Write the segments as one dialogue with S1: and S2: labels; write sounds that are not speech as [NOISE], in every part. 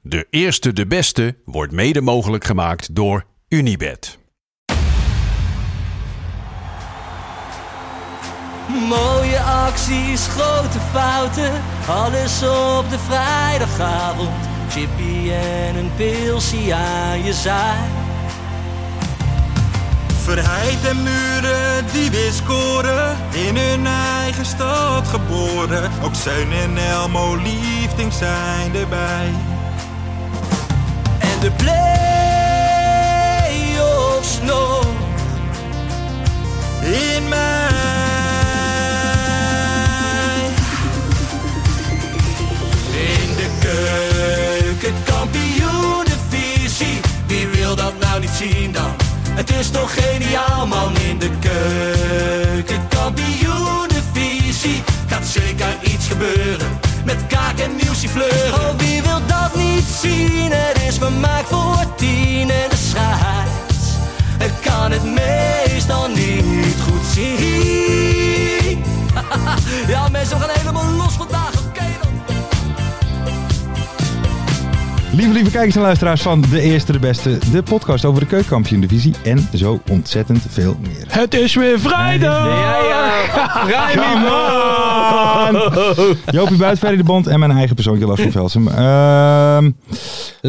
S1: De eerste, de beste wordt mede mogelijk gemaakt door Unibed.
S2: Mooie acties, grote fouten, alles op de vrijdagavond. Chippy en een pilsie aan je zaai.
S3: Verheid en muren die weer scoren, in hun eigen stad geboren. Ook Zijn en Elmo liefding zijn erbij.
S2: En de play-offs nog
S3: in mij.
S2: In de keuken, kampioen de visie. Wie wil dat nou niet zien dan? Het is toch geniaal man in de keuken, kampioen de visie. Gaat zeker iets gebeuren met kaak en nieuwsje fleuren. Oh, wie wil dat niet zien? Het is vermaakt voor tien en de scheids. Ik kan het meestal niet goed zien. [LAUGHS] Ja, mensen, we gaan helemaal los vandaag. Oké dan.
S4: Lieve, lieve kijkers en luisteraars van De Eerste de Beste, de podcast over de keukenkampioen divisie en zo ontzettend veel
S5: [LAUGHS]
S4: meer.
S6: Het is weer vrijdag!
S5: Ja, ja.
S4: Oh.
S5: Vrijdag.
S4: Jopie Buit, Ferry de Bond en mijn eigen persoon, Lars van Velsum. Ehm, wij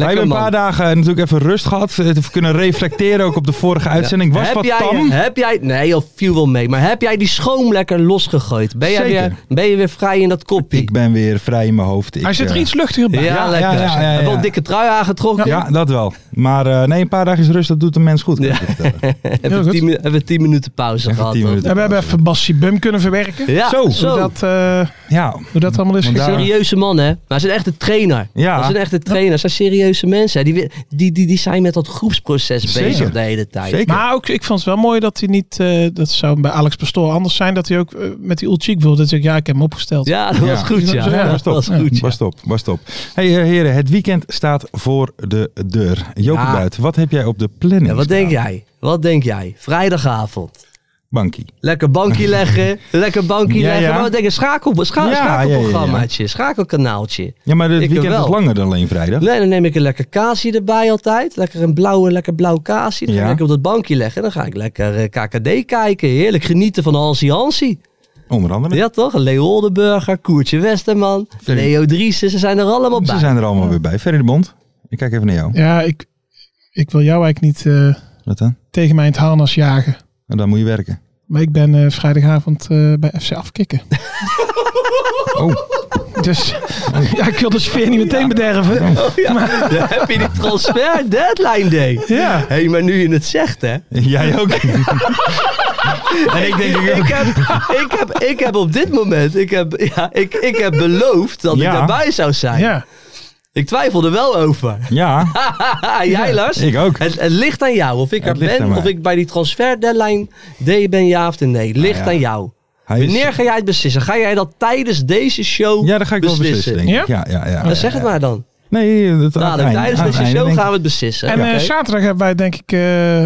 S4: hebben een
S5: man.
S4: paar dagen natuurlijk even rust gehad, eh, te kunnen reflecteren ook op de vorige uitzending. Was
S5: heb
S4: wat
S5: jij,
S4: tam?
S5: Heb jij, nee, joh, viel wel mee. Maar heb jij die schoom lekker losgegooid? Ben, jij
S4: Zeker.
S5: weer, ben je weer vrij in dat kopje?
S4: Ik ben weer vrij in mijn hoofd. Ik,
S6: Hij zit er
S4: eh,
S6: iets luchtiger
S5: ja,
S6: bij.
S4: ja,
S5: lekker.
S4: ja, ja, ja, ja.
S5: Heb wel een dikke trui aangetrokken.
S4: Ja, dat wel. Maar eh, nee, een paar dagen rust, dat eh. doet een mens goed. kan ik
S5: Ja.
S4: je vertellen.
S6: Heel
S5: Even
S6: goed.
S5: tien, minu- even tien minuten pauze
S4: Even
S5: gehad.
S4: tien
S5: hoor.
S4: minuten.
S6: En we hebben even Bassie Bum kunnen verwerken.
S5: Ja,
S4: Zo,
S5: zo.
S6: Zodat, eh,
S4: Ja,
S5: [LAUGHS]
S6: hoe dat allemaal is
S4: Want daar-
S6: gegaan.
S5: Serieuze man, hè? Maar hij is een echte trainer.
S4: Ja.
S5: Hij is een echte trainer. Ze zijn serieuze mensen. hè. Die, wi- die, die, die zijn met dat groepsproces
S4: Zeker.
S5: bezig de hele tijd.
S4: zeker.
S6: Maar ook, ik vond het wel mooi dat hij niet, eh, dat zou bij Alex Pastoor anders zijn, dat hij ook eh, met die Ulchik wilde. Dat ik, ja, ik heb hem opgesteld.
S5: Ja, [LAUGHS] dat
S4: Ja.
S5: was goed, ja.
S6: Zo, ja,
S5: dat
S4: was top.
S5: was goed, ja.
S4: Was top, was top. Hey eh, heren, het weekend staat voor de deur. Jopie
S5: Ja.
S4: Buit, wat heb jij op de planning?
S5: Ja, wat denk
S4: staan?
S5: jij? Wat denk jij? Vrijdagavond.
S4: Bankie.
S5: Lekker
S4: [LAUGHS]
S5: bankje leggen. lekker bankje
S4: Ja,
S5: leggen.
S4: ja.
S5: Maar we denken schakel, scha
S4: Ja,
S5: schakelprogrammaatje. Schakelkanaaltje.
S4: Ja, maar het
S5: Ik
S4: weekend
S5: wel.
S4: is langer dan alleen vrijdag.
S5: Nee, dan neem ik een lekker kaasje erbij altijd. Lekker een blauwe, lekker blauw kaasje. Dan ga
S4: Ja.
S5: ik lekker op dat bankje leggen. Dan ga ik lekker eh, KKD kijken. Heerlijk genieten van Hansi Hansi.
S4: Onder andere.
S5: Ja toch? Leo Oldenburger, Koertje Westerman,
S4: Verder-
S5: Leo Driessen. Ze zijn er allemaal
S4: Ze
S5: bij.
S4: zijn er allemaal weer bij. Ferry de Bond, ik kijk even naar jou.
S6: Ja, ik, ik wil jou eigenlijk niet eh,
S4: Wat dan?
S6: tegen mij in het harnas jagen.
S4: En dan moet je werken.
S6: Maar ik ben eh, vrijdagavond eh, bij FC Afkikken.
S4: Oh,
S6: [LAUGHS] Dus ja, ik wil de sfeer niet meteen bederven.
S5: Oh
S4: [LAUGHS]
S5: Dan heb je die transfer deadline day.
S6: Ja.
S5: Hé, hey, maar nu je het zegt hè.
S4: jij
S5: [LAUGHS]
S4: ook. en ik denk ook.
S5: Ik heb, ik, heb, ik heb op dit moment, ik heb, ja, ik, ik heb beloofd dat
S4: Ja.
S5: ik daarbij zou zijn.
S6: Ja.
S5: Ik twijfel er wel over.
S4: Ja,
S5: Haha, jij Lars?
S4: ik ook.
S5: Het, het ligt aan jou of ik
S4: Het
S5: er
S4: ligt aan
S5: ben,
S4: mij.
S5: of ik bij die transfer deadline D ben ja of nee. Het ligt
S4: Nou ja.
S5: aan jou.
S4: Hij is-
S5: Wanneer ga jij het beslissen? Ga jij dat tijdens deze show
S4: Ja, dat ga ik wel beslissen, denk ik. Ja, ja, ja.
S5: Dan zeg het maar dan.
S4: Nee, dat aan het
S5: Dadelijk,
S4: eind-
S5: tijdens
S4: aan het
S5: deze
S4: einde,
S5: show
S4: denk
S5: gaan
S4: ik.
S5: we het beslissen.
S6: En eh,
S5: Oké.
S6: zaterdag hebben wij denk ik eh,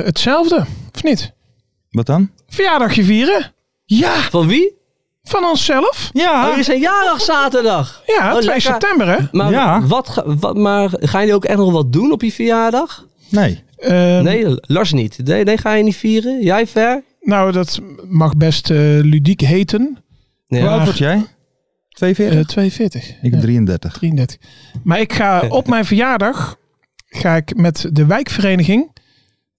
S6: hetzelfde, of niet?
S4: Wat dan?
S5: Oh,
S6: Verjaardagje vieren. Ja.
S5: Van wie?
S6: Van onszelf.
S4: Ja.
S5: Oh, je zijn jarig zaterdag.
S6: Ja,
S5: Oh,
S6: 2
S5: lekker.
S6: september hè.
S5: Maar,
S4: Ja.
S5: wat, ga- wat, maar gaan jullie ook echt nog wat doen op je verjaardag?
S4: Nee.
S6: Ehm,
S5: Nee, Lars niet. Nee, nee, ga je niet vieren? Jij ver?
S6: Nou, dat mag best eh, ludiek heten.
S4: Hoe
S5: Ja.
S4: oud word jij?
S6: Eh
S4: 42?
S6: 42.
S4: ik
S6: ja.
S4: ben 33.
S6: 33. Maar ik
S5: [LAUGHS]
S6: ga op mijn verjaardag ga ik met de wijkvereniging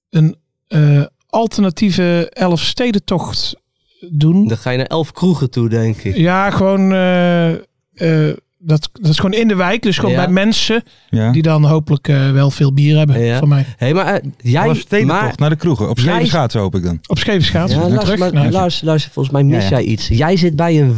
S6: een eh, alternatieve elfstedentocht doen.
S5: Dan ga je naar elf kroegen toe, denk ik.
S6: Ja, gewoon eh, eh, dat, dat is gewoon in de wijk, dus gewoon
S5: Ja.
S6: bij mensen
S4: Ja.
S6: die dan hopelijk eh, wel veel bier hebben
S5: Ja.
S6: van mij.
S5: Hé, maar eh, jij...
S4: Alle steden
S5: maar-
S4: toch naar de kroegen. Op
S5: Jij-
S4: Scheveningschaatsen hoop ik dan.
S6: Op Schevenschaat.
S5: Ja,
S6: Ja,
S5: Lars,
S6: terug.
S5: maar,
S6: Nou,
S5: Lars, Lars, volgens mij mis
S4: Ja, ja.
S5: jij iets. Jij zit bij een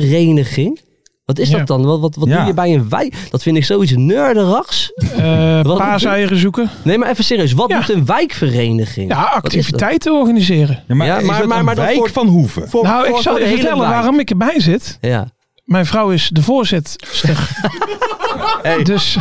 S5: wijkvereniging. Wat is
S6: Ja.
S5: dat dan? Wat, wat, wat
S4: Ja.
S5: doe je bij een wijk? Dat vind ik zoiets neurderigs.
S6: eh,
S5: Wat-
S6: paaseieren zoeken.
S5: Nee, maar even serieus. Wat
S6: Ja.
S5: doet een wijkvereniging?
S6: Ja,
S5: Wat is dat?
S6: activiteiten organiseren.
S4: Ja, maar,
S5: Ja,
S4: is
S5: maar-
S4: dat
S5: maar-
S4: een
S5: maar dat
S4: wijk
S5: voor-
S4: van Hoeven?
S5: Voor-
S6: nou, ik
S5: voor- voor
S6: zal je
S5: de hele
S6: vertellen
S5: wijk.
S6: waarom ik erbij zit.
S5: Ja. [LAUGHS]
S6: Mijn vrouw is de voorzitter. Dus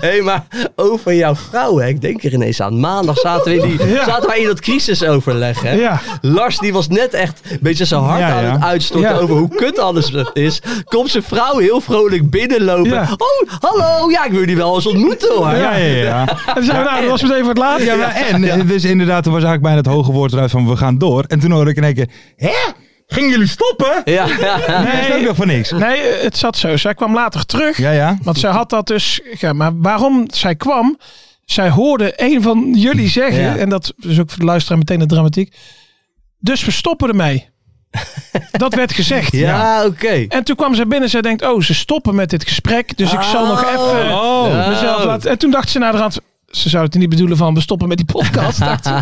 S5: hey, maar over jouw vrouw, hè. Ik denk er ineens aan. Maandag zaten we in, die,
S6: Ja.
S5: zaten wij in dat crisisoverleg, hè.
S6: Ja.
S5: Lars, die was net echt een beetje zijn hart
S6: Ja,
S5: aan
S6: ja.
S5: het uitstorten
S6: Ja.
S5: over hoe kut alles is. Komt zijn vrouw heel vrolijk binnenlopen.
S6: Ja.
S5: Oh, hallo. Ja, ik wil die wel eens ontmoeten, hoor.
S4: Ah, Ja, ja, ja.
S6: En zei, nou, dat was meteen voor het laatst.
S4: Ja, maar en, eh, dus inderdaad, er was eigenlijk bijna het hoge woord eruit van we gaan door. En toen hoorde ik in één keer, hè? Gingen jullie stoppen?
S5: Ja, ja.
S4: Nee. Dat is ook nog van niks.
S6: Nee, het zat zo. Zij kwam later terug.
S4: Ja, ja.
S6: Want zij had dat dus. Ja, maar waarom zij kwam. Zij hoorde een van jullie zeggen.
S5: Ja.
S6: En dat is ook voor de luisteraar meteen de dramatiek. Dus we
S5: [LAUGHS]
S6: stoppen ermee. dat werd gezegd.
S5: Ja, oké.
S6: En toen kwam zij binnen. Zij denkt: Oh, ze stoppen met dit gesprek. Dus ik zal nog
S5: Oh.
S6: even
S5: Oh.
S6: mezelf laten. En toen dacht ze naar de rand. Ze zou het niet bedoelen van we stoppen met die podcast. dacht
S5: [LAUGHS]
S6: ze.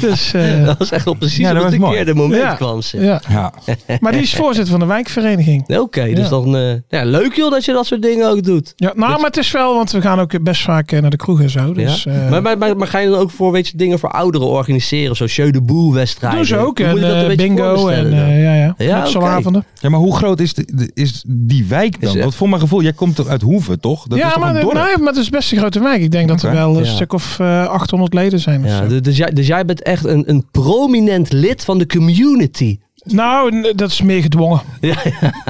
S6: Dus. eh,
S5: Dat was echt op precies
S4: Ja, dat
S5: op het
S4: was mooi.
S5: verkeerde moment
S6: Ja.
S5: kwam ze.
S6: ja.
S4: Ja.
S6: Maar die is voorzitter van de wijkvereniging.
S5: Oké, dus
S6: Ja.
S5: dan... eh, ja, leuk joh dat je dat soort dingen ook doet.
S6: Ja, nou, maar het is wel, want we gaan ook best vaak eh, naar de kroeg en zo. Dus,
S5: ja?
S6: eh,
S5: maar, maar, maar, maar ga je dan ook voor weet je, dingen voor ouderen organiseren? Zo show de boel wedstrijden?
S6: Doen ze ook.
S5: Hoe
S6: En
S5: moet je dat een
S6: eh,
S5: beetje
S6: bingo en
S5: voorstellen dan?
S6: eh, ja, ja.
S5: Ja,
S6: knutselavonden.
S4: Ja, maar hoe groot is, de, de- is die wijk dan?
S5: Is-
S4: Want voor mijn gevoel, jij komt toch uit Hoeven, toch? Dat is
S6: ja,
S4: toch
S6: maar,
S4: een dorp?
S6: nee, maar het is best een grote wijk. Ik denk dat er
S4: Oké.
S6: wel een
S5: Ja.
S6: stuk of eh, 800 leden zijn. of
S5: Ja,
S6: zo.
S5: dus, dus jij, dus jij bent echt een, een prominent lid van de community.
S6: Nou, n- dat is meer gedwongen.
S5: Ja,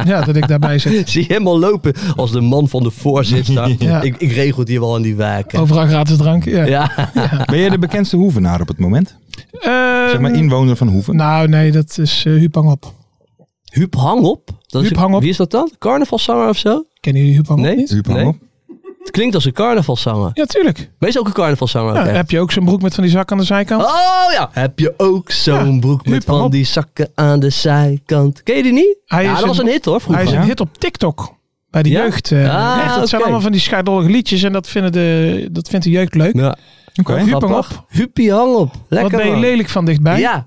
S6: Ja, dat ik
S5: [LAUGHS]
S6: daarbij zit.
S5: Zie je helemaal lopen als de man van de voorzitter.
S6: [LAUGHS] Ja.
S5: ik, ik regel het hier wel in die wijk. hè.
S6: Overal gratis drank. Ja.
S5: Ja,
S4: Ben jij de bekendste Hoevenaar op het moment?
S6: Eh,
S4: Zeg maar inwoner van Hoeven?
S6: Nou, nee, dat is eh Huub Hang Op.
S5: Huub Hangop. Dat is-
S6: Huub Hangop.
S5: Wie is dat dan? Carnavalzanger of zo?
S6: Kennen jullie Huub Hang Op
S5: Nee?
S6: niet?
S4: Huub, hang
S5: nee.
S4: op.
S5: Het klinkt als een carnavalzanger.
S6: Ja, tuurlijk.
S5: Wees ook een carnavalzanger.
S6: Ja,
S5: ook Oh, echt.
S6: heb je ook zo'n broek met van die zak aan de zijkant?
S5: Oh ja, heb je ook zo'n
S6: Ja,
S5: broek met
S6: Huub
S5: van
S6: Hangop.
S5: die zakken aan de zijkant? Ken je die niet?
S6: Hij
S5: ja,
S6: is
S5: dat was
S6: een-
S5: een hit hoor
S6: Hij
S5: vroeger.
S6: is
S4: Ja.
S6: een hit op TikTok. Bij de
S5: Ja?
S6: jeugd. eh,
S5: Ah,
S6: echt, dat zijn
S5: oké.
S6: allemaal van die schaardollige liedjes. En dat, vinden de, dat vindt de jeugd leuk.
S5: Ja,
S4: Oké.
S6: Huub, hang
S5: grappig.
S6: op.
S5: Huubie hang op.
S6: Wat
S5: Lekker
S6: ben je
S5: man.
S6: lelijk van dichtbij.
S5: Ja.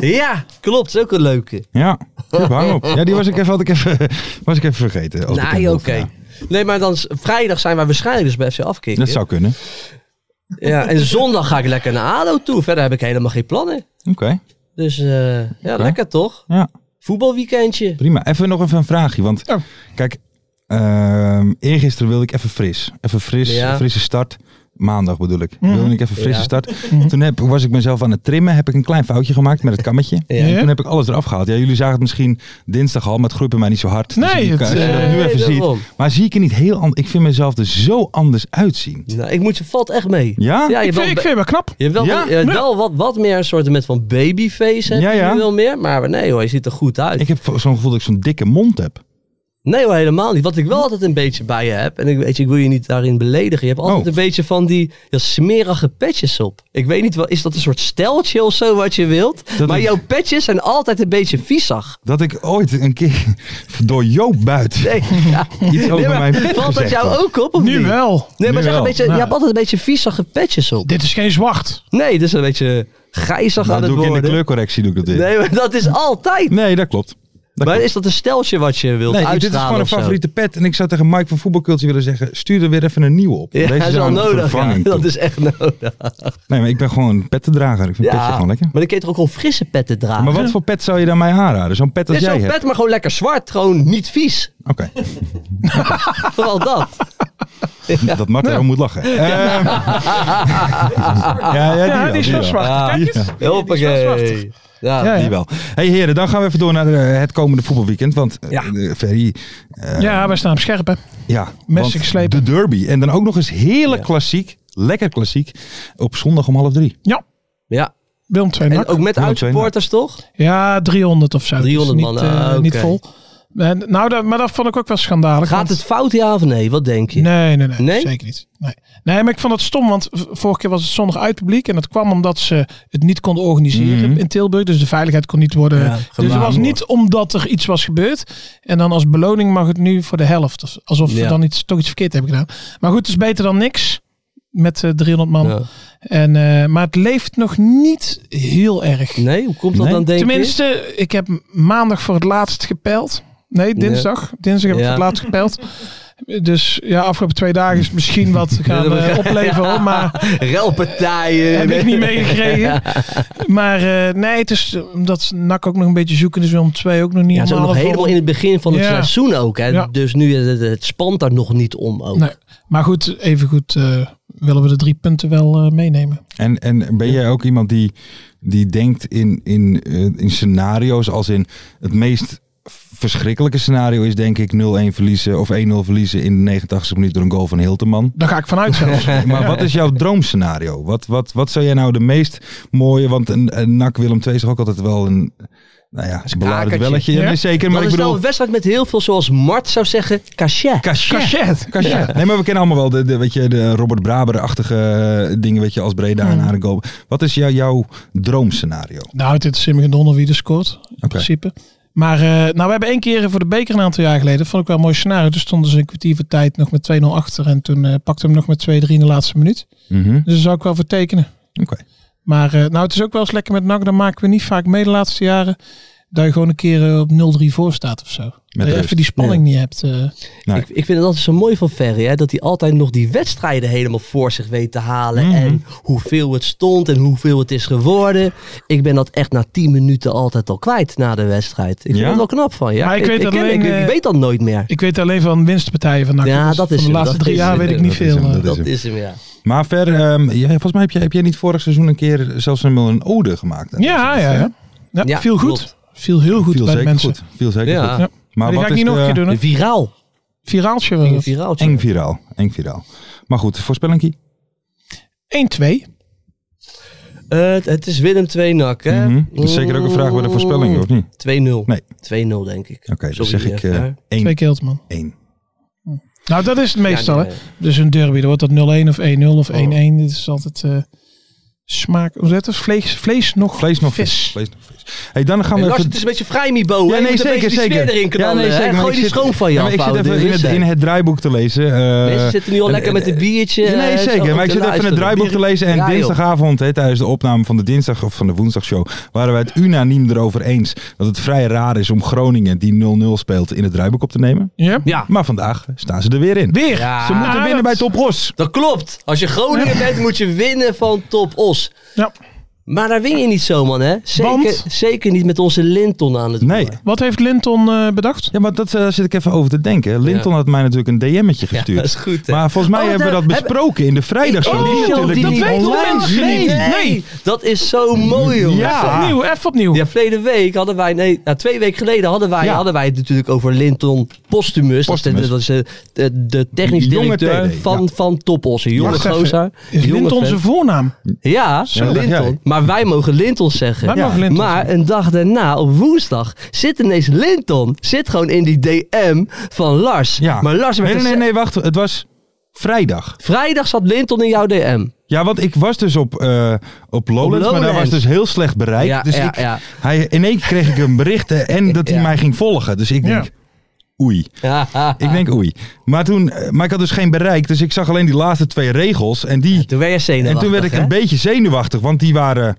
S5: ja, klopt. Dat is ook een
S6: Oh,
S5: leuke.
S4: Ja, Huub, hang op. Ja, die was ik even, had ik even, was ik even vergeten. als
S5: Nee,
S4: bekende
S5: Nou, oké.
S4: Hoevenaar.
S5: Nee, maar dan s- vrijdag zijn wij waarschijnlijk dus bij FC afkicken.
S4: Dat zou kunnen. [LAUGHS]
S5: Ja, en zondag ga ik lekker naar ADO toe. Verder heb ik helemaal geen plannen.
S4: Oké,
S5: Dus eh, ja, lekker toch?
S4: ja.
S5: Voetbalweekendje.
S4: Prima. Even nog even een vraagje. Want
S6: Ja.
S4: kijk, ehm eergisteren wilde ik even fris. Even fris,
S5: Ja. Mm.
S4: een frisse start. Maandag bedoel ik.
S6: Mhm.
S4: Wilde ik even frisse
S5: Ja. Mm-hmm.
S4: start. Toen heb, was ik mezelf aan het trimmen. Heb ik een klein foutje gemaakt met het kammetje.
S5: Ja.
S4: En toen heb ik alles eraf gehaald. Ja, jullie zagen het misschien dinsdag al, maar het groeit bij mij niet zo hard. Dus
S6: Nee,
S4: je
S6: het,
S4: kan- als je dat nu
S5: Nee,
S4: even
S5: Eh, daarom.
S4: ziet. Maar zie ik er niet heel anders. Ik vind mezelf er zo anders uitzien.
S5: Nou, ik moet je valt echt mee.
S4: Ja?
S5: Ja, je
S6: Ik, vind,
S5: bent
S6: ik vind
S5: wel,
S6: Nou. het wel knap.
S5: je hebt wel,
S4: Ja?
S5: je hebt wel wat, wat meer een soort met van babyface. Heb
S4: Ja,
S5: je
S4: ja.
S5: nu wel meer. Maar nee hoor, je ziet er goed uit.
S4: Ik heb zo'n gevoel dat ik zo'n dikke mond heb.
S5: Nee hoor, helemaal niet. Wat ik wel altijd een beetje bij je heb. En ik, weet je, ik wil je niet daarin beledigen. Je hebt altijd
S4: Oh.
S5: een beetje van die ja, smerige petjes op. Ik weet niet, wel, is dat een soort steltje of zo wat je wilt?
S4: Dat
S5: maar
S4: is-
S5: jouw petjes zijn altijd een beetje viezig.
S4: Dat ik ooit een keer [LAUGHS] door Joop buit.
S5: Nee, [LAUGHS] ja.
S4: Iets over
S5: Nee, maar
S4: mijn pet
S5: Valt dat
S4: gezegd
S5: jou
S4: had.
S5: ook op? Of
S6: Nu
S5: niet?
S6: wel.
S5: Nee,
S4: Nu
S5: maar zeg een
S4: wel.
S5: beetje,
S6: Nou.
S5: je hebt altijd een beetje viezige petjes op.
S6: Dit is geen zwart.
S5: Nee, dus een beetje grijzig aan
S4: Nou,
S5: het
S4: Dat doe ik in de
S5: worden.
S4: kleurcorrectie doe ik dat weer.
S5: Nee, maar dat is altijd.
S4: Nee, dat klopt. Dat
S5: maar
S4: klopt.
S5: is dat een steltje wat je wilt
S4: Nee,
S5: uitstralen
S4: dit is gewoon een
S5: of zo?
S4: favoriete pet. En ik zou tegen Mike van Voetbalcultje willen zeggen: stuur er weer even een nieuwe op.
S5: Ja, dat is
S4: zou
S5: wel
S4: een
S5: nodig. ja.
S4: vervanging
S5: dat
S4: toe.
S5: is echt nodig.
S4: Nee, maar ik ben gewoon een pettendrager. Ik vind
S5: Ja,
S4: petjes gewoon lekker.
S5: Maar dan kun je toch ook gewoon frisse petten dragen?
S4: Maar wat voor pet zou je dan mij aanraden? Zo'n pet als
S5: is
S4: jij
S5: zo'n
S4: hebt?
S5: pet, maar gewoon lekker zwart. Gewoon niet vies.
S4: Oké, [LAUGHS]
S5: Vooral dat.
S4: dat Marco moet lachen. Ehm,
S5: [LAUGHS]
S4: ja, ja, die,
S6: Ja,
S4: wel,
S6: die is
S4: die
S6: wel
S4: wel.
S6: zwart.
S5: Ah, Ja.
S6: Kijk eens.
S4: Ja.
S5: Hoppakee. Ja.
S6: Ja,
S4: Die
S6: ja.
S4: wel. hey, heren, dan gaan we even door naar eh, het komende voetbalweekend. Want eh,
S5: Ja.
S4: eh, Ferry,
S6: ja, wij staan op scherp, hè.
S4: ja,
S6: Messen
S4: want
S6: geslepen.
S4: de derby. En dan ook nog eens heerlijk klassiek, lekker klassiek, op zondag om half drie.
S6: Ja,
S5: Ja.
S6: Willem 2
S5: En ook met
S4: Ja,
S5: uitsupporters toch?
S6: Ja, 300 of zo. Het is
S5: 300
S6: niet,
S5: man,
S6: eh,
S5: ah, oké.
S6: Niet vol. En, nou, dat, maar dat vond ik ook wel schandalig.
S5: Gaat
S6: want-
S5: het fout ja of nee? Wat denk je?
S6: Nee, nee, nee,
S5: Nee?
S6: Zeker niet. Nee. nee, maar ik vond het stom, want v- vorige keer was het zondag uit publiek. En dat kwam omdat ze het niet konden organiseren
S4: Mhm.
S6: in Tilburg. Dus de veiligheid kon niet worden. dus het
S5: gedaan,
S6: was
S5: hoor.
S6: niet omdat er iets was gebeurd. En dan als beloning mag het nu voor de helft. Of- Alsof we
S5: Ja.
S6: dan iets, toch iets verkeerd hebben gedaan. Maar goed, het is beter dan niks. Met eh, 300 man.
S5: Ja.
S6: En, eh, maar het leeft nog niet heel erg.
S5: Nee, hoe komt dat
S4: Nee.
S5: dan denk je?
S6: Tenminste, ik heb maandag voor het laatst gepeld. Nee, dinsdag. Dinsdag heb ik
S5: Ja.
S6: voor het laatst gepeld. Dus ja, afgelopen twee dagen is
S5: [LAUGHS]
S6: misschien wat gaan eh, opleveren. Maar
S5: Relpartijen.
S6: heb [LAUGHS] ik niet meegekregen. Maar eh, nee, het is eh, omdat NAC ook nog een beetje zoeken is. Om twee ook nog niet
S5: Ja, het is ook nog
S6: helemaal
S5: helemaal in het begin van het
S6: Ja.
S5: seizoen ook. Hè?
S6: Ja.
S5: Dus nu, eh, het, het spant daar nog niet om ook.
S6: Nee. Maar goed, even goed eh, willen we de drie punten wel eh, meenemen.
S4: En, en ben jij ook iemand die, die denkt in, in, eh, in scenario's als in het meest verschrikkelijke scenario is denk ik 0-1 verliezen of 1-0 verliezen in de 89 minuut door een goal van
S5: [LAUGHS]
S4: Hilterman.
S6: Daar ga ik vanuit zelfs.
S4: Maar wat is jouw droomscenario? Wat, wat, wat zou jij nou de meest mooie, want een, een NAC Willem II is toch ook altijd wel een, nou ja, een beladen
S5: kakertje.
S4: belletje. Ja,
S6: Ja.
S4: nee, zeker,
S5: Dan
S4: maar
S5: is
S4: ik
S5: het wel
S4: bedoel...
S5: een wedstrijd met heel veel, zoals Mart zou zeggen, cachet.
S4: Cachet.
S6: Cachet.
S4: Cachet. Nee, maar we kennen allemaal wel de, de, weet je, de Robert Braber-achtige eh, dingen, weet je, als Breda en haar goal. Wat is jou, jouw droomscenario?
S6: Nou, het is Simon Donder wie er scoort. In principe. Maar eh, nou, we hebben één keer voor de beker een aantal jaar geleden. Dat vond ik wel een mooi scenario. Toen stonden ze een kwartier voor tijd nog met 2-0 achter. En toen eh pakte hem nog met 2-3 in de laatste minuut.
S4: Mhm.
S6: Dus daar zou ik wel voor tekenen.
S4: Oké.
S6: Maar eh, nou, het is ook wel eens lekker met NAC. Dan maken we niet vaak mee de laatste jaren. Dat je gewoon een keer eh, op 0-3 voor staat of zo. dat je
S4: rust.
S6: even die spanning niet hebt. eh.
S4: Nee.
S5: Ik, ik vind het altijd zo mooi van Ferry, hè, dat hij altijd nog die wedstrijden helemaal voor zich weet te halen.
S6: Mhm.
S5: En hoeveel het stond en hoeveel het is geworden. Ik ben dat echt na 10 minuten altijd al kwijt na de wedstrijd. Ik vind
S4: Ja?
S5: dat wel knap van. Ja,
S6: Maar ik weet dat
S5: ken-
S6: alleen,
S5: ik, ik
S6: eh,
S5: weet dat nooit meer.
S6: Ik weet alleen van winstpartijen van NAC.
S5: Ja,
S6: Dus
S5: dat is
S6: Van
S5: hem,
S6: de laatste
S5: dat
S6: drie
S5: is
S6: jaar
S5: hem,
S6: weet ik
S5: dat
S6: niet
S4: is hem,
S6: veel. eh.
S4: dat
S5: Dat
S4: is hem.
S5: is hem, ja.
S4: Maar ver, ehm, jij- volgens mij heb je, heb jij niet vorig seizoen een keer zelfs een, een ode gemaakt. aan
S6: Ja,
S4: deze
S6: ja,
S4: wedstrijd,
S6: ja. Ja,
S5: Ja,
S6: viel goed.
S5: klopt.
S6: Viel heel goed
S4: Viel
S6: bij de
S4: zeker
S6: mensen.
S4: goed. Viel zeker
S5: Ja.
S4: goed.
S6: Ja.
S4: Maar
S6: die
S4: wat
S6: ga ik
S4: is
S6: niet nog
S4: de-
S6: een keer doen. Hè?
S5: Viraal.
S6: Viraaltje wel.
S5: Een viraaltje.
S4: Eng viraal. Eng viraal. Maar goed, voorspelling.
S6: 1-2.
S5: Eh, het- het is Willem 2 nak, hè?
S4: Dat is Mhm. zeker ook een vraag bij de voorspelling, of niet?
S5: 2-0.
S4: Nee.
S5: 2-0 denk ik.
S4: Oké, dan zeg ik eh, 1-1.
S6: Twee keer man. Nou, dat is het meestal. hè. Dus een derby, dan wordt dat 0-1 of 1-0 of 1-1. Dit is altijd eh, smaak. Hoe heet dat? Vlees, vlees nog
S4: Vlees nog vis.
S6: vis.
S4: Vlees nog vis. Hey, dan gaan we
S5: Lars,
S4: even...
S5: het is een beetje vrijmibo.
S4: Ja, nee, zeker, zeker.
S5: erin knallen,
S4: ja, nee,
S5: hè?
S4: zeker. maar
S5: Gooi
S4: ik
S5: die
S4: zit-
S5: schoon van je
S4: Ja, maar Ik
S5: af,
S4: zit
S5: oude
S4: even in het,
S5: Willemsen.
S4: in het draaiboek te lezen. eh,
S5: Mensen zitten nu al lekker met een biertje.
S4: Ja, nee,
S5: eh, zo
S4: zeker. Maar ik
S5: te
S4: zit even het
S5: luisteren.
S4: draaiboek te lezen. En
S5: Ja, joh.
S4: dinsdagavond, hè, tijdens de opname van de dinsdag of van de woensdagshow, waren we het unaniem erover eens dat het vrij raar is om Groningen, die 0-0 speelt, in het draaiboek op te nemen.
S6: Ja?
S5: Ja,
S4: Maar vandaag staan ze er weer in.
S6: Weer.
S5: Ja.
S4: Ze moeten
S6: Ah,
S4: winnen
S6: dat-
S4: bij Top Os.
S5: dat klopt. Als je Groningen bent, moet je winnen van Top Os.
S6: Ja.
S5: Maar daar win je niet zo, man, hè? Zeker,
S6: Want?
S5: zeker niet met onze Linton aan het
S4: Nee.
S5: roer.
S6: Wat heeft Linton eh, bedacht?
S4: Ja, maar dat eh, zit ik even over te denken. Linton
S5: Ja.
S4: had mij natuurlijk een DM'tje
S5: Ja, dat is
S4: gestuurd.
S5: goed, hè?
S4: maar volgens mij
S5: Oh,
S4: hebben we dat
S5: daar-
S4: besproken in de vrijdagshow.
S5: Oh,
S4: die is
S5: die
S4: natuurlijk
S5: die
S4: niet
S6: dat weten
S4: online.
S6: mensen
S4: Nee.
S6: niet.
S5: Nee,
S6: Nee.
S5: dat is zo mooi, hoor.
S4: Ja.
S6: Opnieuw, even opnieuw.
S5: Ja, verleden week hadden wij, nee, nou, twee weken geleden hadden wij,
S4: Ja.
S5: hadden wij het natuurlijk over Linton Postumus.
S4: Postumus.
S5: Dat is de, de, de technisch
S4: Die jonge
S5: directeur
S4: TD,
S5: van, van Topos. Een jonge
S6: Wacht even.
S5: gozer.
S6: Is
S5: jonge
S6: Linton
S5: vent.
S6: zijn voornaam?
S5: Ja,
S4: dat dacht
S5: Linton.
S4: jij.
S5: Maar wij mogen Linton zeggen.
S6: Wij
S4: Ja.
S6: mogen Linton
S5: maar een dag daarna, op woensdag, zit ineens Linton. Zit gewoon in die DM van Lars.
S4: Ja.
S5: Maar Lars werd dus-
S4: nee, nee,
S5: een-
S4: nee, nee, wacht. Het was vrijdag.
S5: Vrijdag zat Linton in jouw [LAUGHS] DM.
S4: Ja, want ik was dus op, eh op Lowlands, maar daar was
S5: Lowlands.
S4: dus heel slecht bereik.
S5: Ja,
S4: dus
S5: ja,
S4: ik,
S5: ja.
S4: Hij, in één keer kreeg ik een bericht eh,
S5: [LAUGHS]
S4: en dat hij
S5: Ja.
S4: mij ging volgen. Dus ik
S6: Ja.
S4: denk, oei.
S5: Ja.
S4: Ik denk, oei. Maar, toen, eh, maar ik had dus geen bereik, dus ik zag alleen die laatste twee regels. En, die,
S5: Toen werd je
S4: en
S5: zenuwachtig.
S4: toen werd ik
S5: hè?
S4: een beetje zenuwachtig, want die waren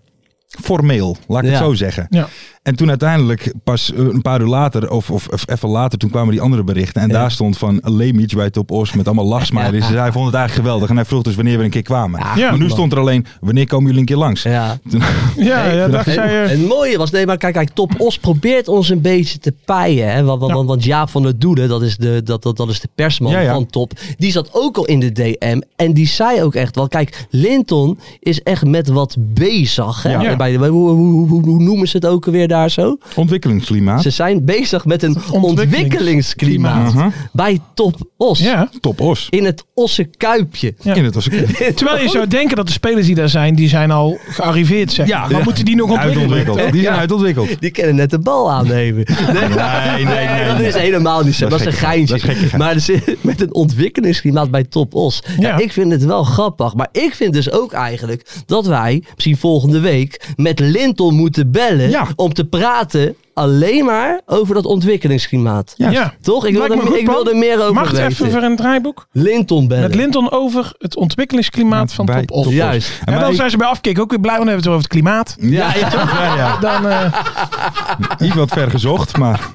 S4: formeel, laat ik
S5: Ja.
S4: het zo zeggen.
S6: Ja.
S4: En toen uiteindelijk, pas eh, een paar uur later, of, of, of even later, toen kwamen die andere berichten. En daar stond van Lemich bij Top Os met allemaal lachsmileys. Dus hij vond het eigenlijk geweldig. En hij vroeg dus wanneer we een keer kwamen.
S6: Ja.
S4: maar nu stond er alleen, wanneer komen jullie een keer langs?
S5: Ja.
S4: Toen-
S6: Ja, ja, dacht
S5: En-
S6: jij. eh,
S5: het mooie was, nee, maar kijk, kijk, Top Os probeert ons een beetje te pijen. Hè? Want, want,
S6: Ja.
S5: want, want Jaap van der Doelen, dat is de, dat, dat, dat is de persman
S4: Ja, ja.
S5: van Top, die zat ook al in de DM. En die zei ook echt wel, kijk, Linton is echt met wat bezig. Hè?
S6: Ja.
S5: Bij, de- hoe, hoe, hoe, hoe noemen ze het ook alweer daar zo?
S4: Ontwikkelingsklimaat.
S5: Ze zijn bezig met een
S6: Ontwikkelings-
S5: ontwikkelingsklimaat bij Top Os.
S6: Ja.
S4: Top Os.
S5: In het Osse Kuipje.
S6: Ja.
S4: In het was
S6: Terwijl je zou denken dat de spelers die daar zijn, die zijn al gearriveerd. Zeg. maar. maar moeten die nog ontwikkelen?
S4: uitontwikkeld. Die zijn uitontwikkeld.
S5: Die kennen net de bal aannemen.
S6: [LAUGHS]
S5: Nee,
S4: nee, nee,
S5: dat
S4: nee.
S5: is helemaal niet zo.
S4: Dat
S5: Dat
S4: is
S5: is een
S4: gekkigheid.
S5: geintje.
S4: Dat is gekkigheid.
S5: maar er zit- met een ontwikkelingsklimaat bij Top Os. Ja.
S6: Ja.
S5: ik vind het wel grappig. Maar ik vind dus ook eigenlijk dat wij misschien volgende week met Linton moeten bellen.
S4: Ja.
S5: Om te praten alleen maar over dat ontwikkelingsklimaat.
S6: Ja,
S5: Toch? Ik wil,
S6: Lijkt me
S5: er,
S6: een goed
S5: ik wil
S6: plan.
S5: er meer over
S6: Mag het
S5: weten.
S6: even voor een draaiboek?
S5: Linton bellen.
S6: Met Linton over het ontwikkelingsklimaat
S4: Ja,
S6: van
S4: bij-
S6: Top Os.
S4: Top Os.
S5: Juist.
S6: En
S4: maar
S6: dan
S4: ik-
S6: zijn ze bij Afkik ook weer blij, want dan hebben we het over het klimaat.
S4: Ja,
S6: [LAUGHS]
S4: ja, ja,
S6: Dan, eh,
S4: Iets wat ver gezocht, maar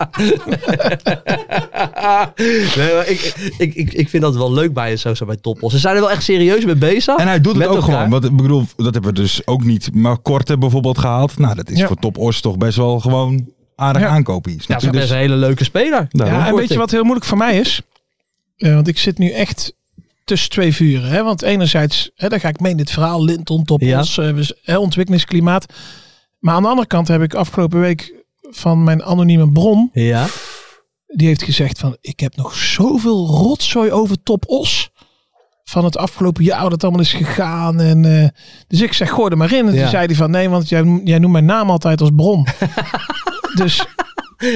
S5: Nee, maar ik, ik, ik, ik vind dat wel leuk bij zo, zo bij Toppos. Ze zijn er wel echt serieus mee
S6: Oh.
S5: bezig.
S4: En hij doet het
S5: Met
S4: ook
S5: elkaar.
S4: gewoon. Want ik bedoel, dat hebben we dus ook niet. Maar Korte bijvoorbeeld gehaald. Nou, dat is
S6: Ja.
S4: voor Top Os toch best wel gewoon aardig
S6: Ja.
S4: aankopen.
S5: Ja, ze is best een hele leuke speler. Nou,
S4: daarom.
S6: ja, en weet je wat heel moeilijk voor mij is? Eh, want ik zit nu echt tussen twee vuren. Hè? Want enerzijds, hè, daar ga ik mee in dit verhaal. Linton, Top
S5: Ja.
S6: Os, eh, we- hè, ontwikkelingsklimaat. Maar aan de andere kant heb ik afgelopen week van mijn anonieme bron...
S5: Ja.
S6: die heeft gezegd van ik heb nog zoveel rotzooi over Top Os van het afgelopen jaar hoe dat allemaal is gegaan en eh, dus ik zeg gooi er maar in en
S5: Ja.
S6: toen zei hij van nee want jij, jij noemt mijn naam altijd als
S5: [LAUGHS]
S6: bron dus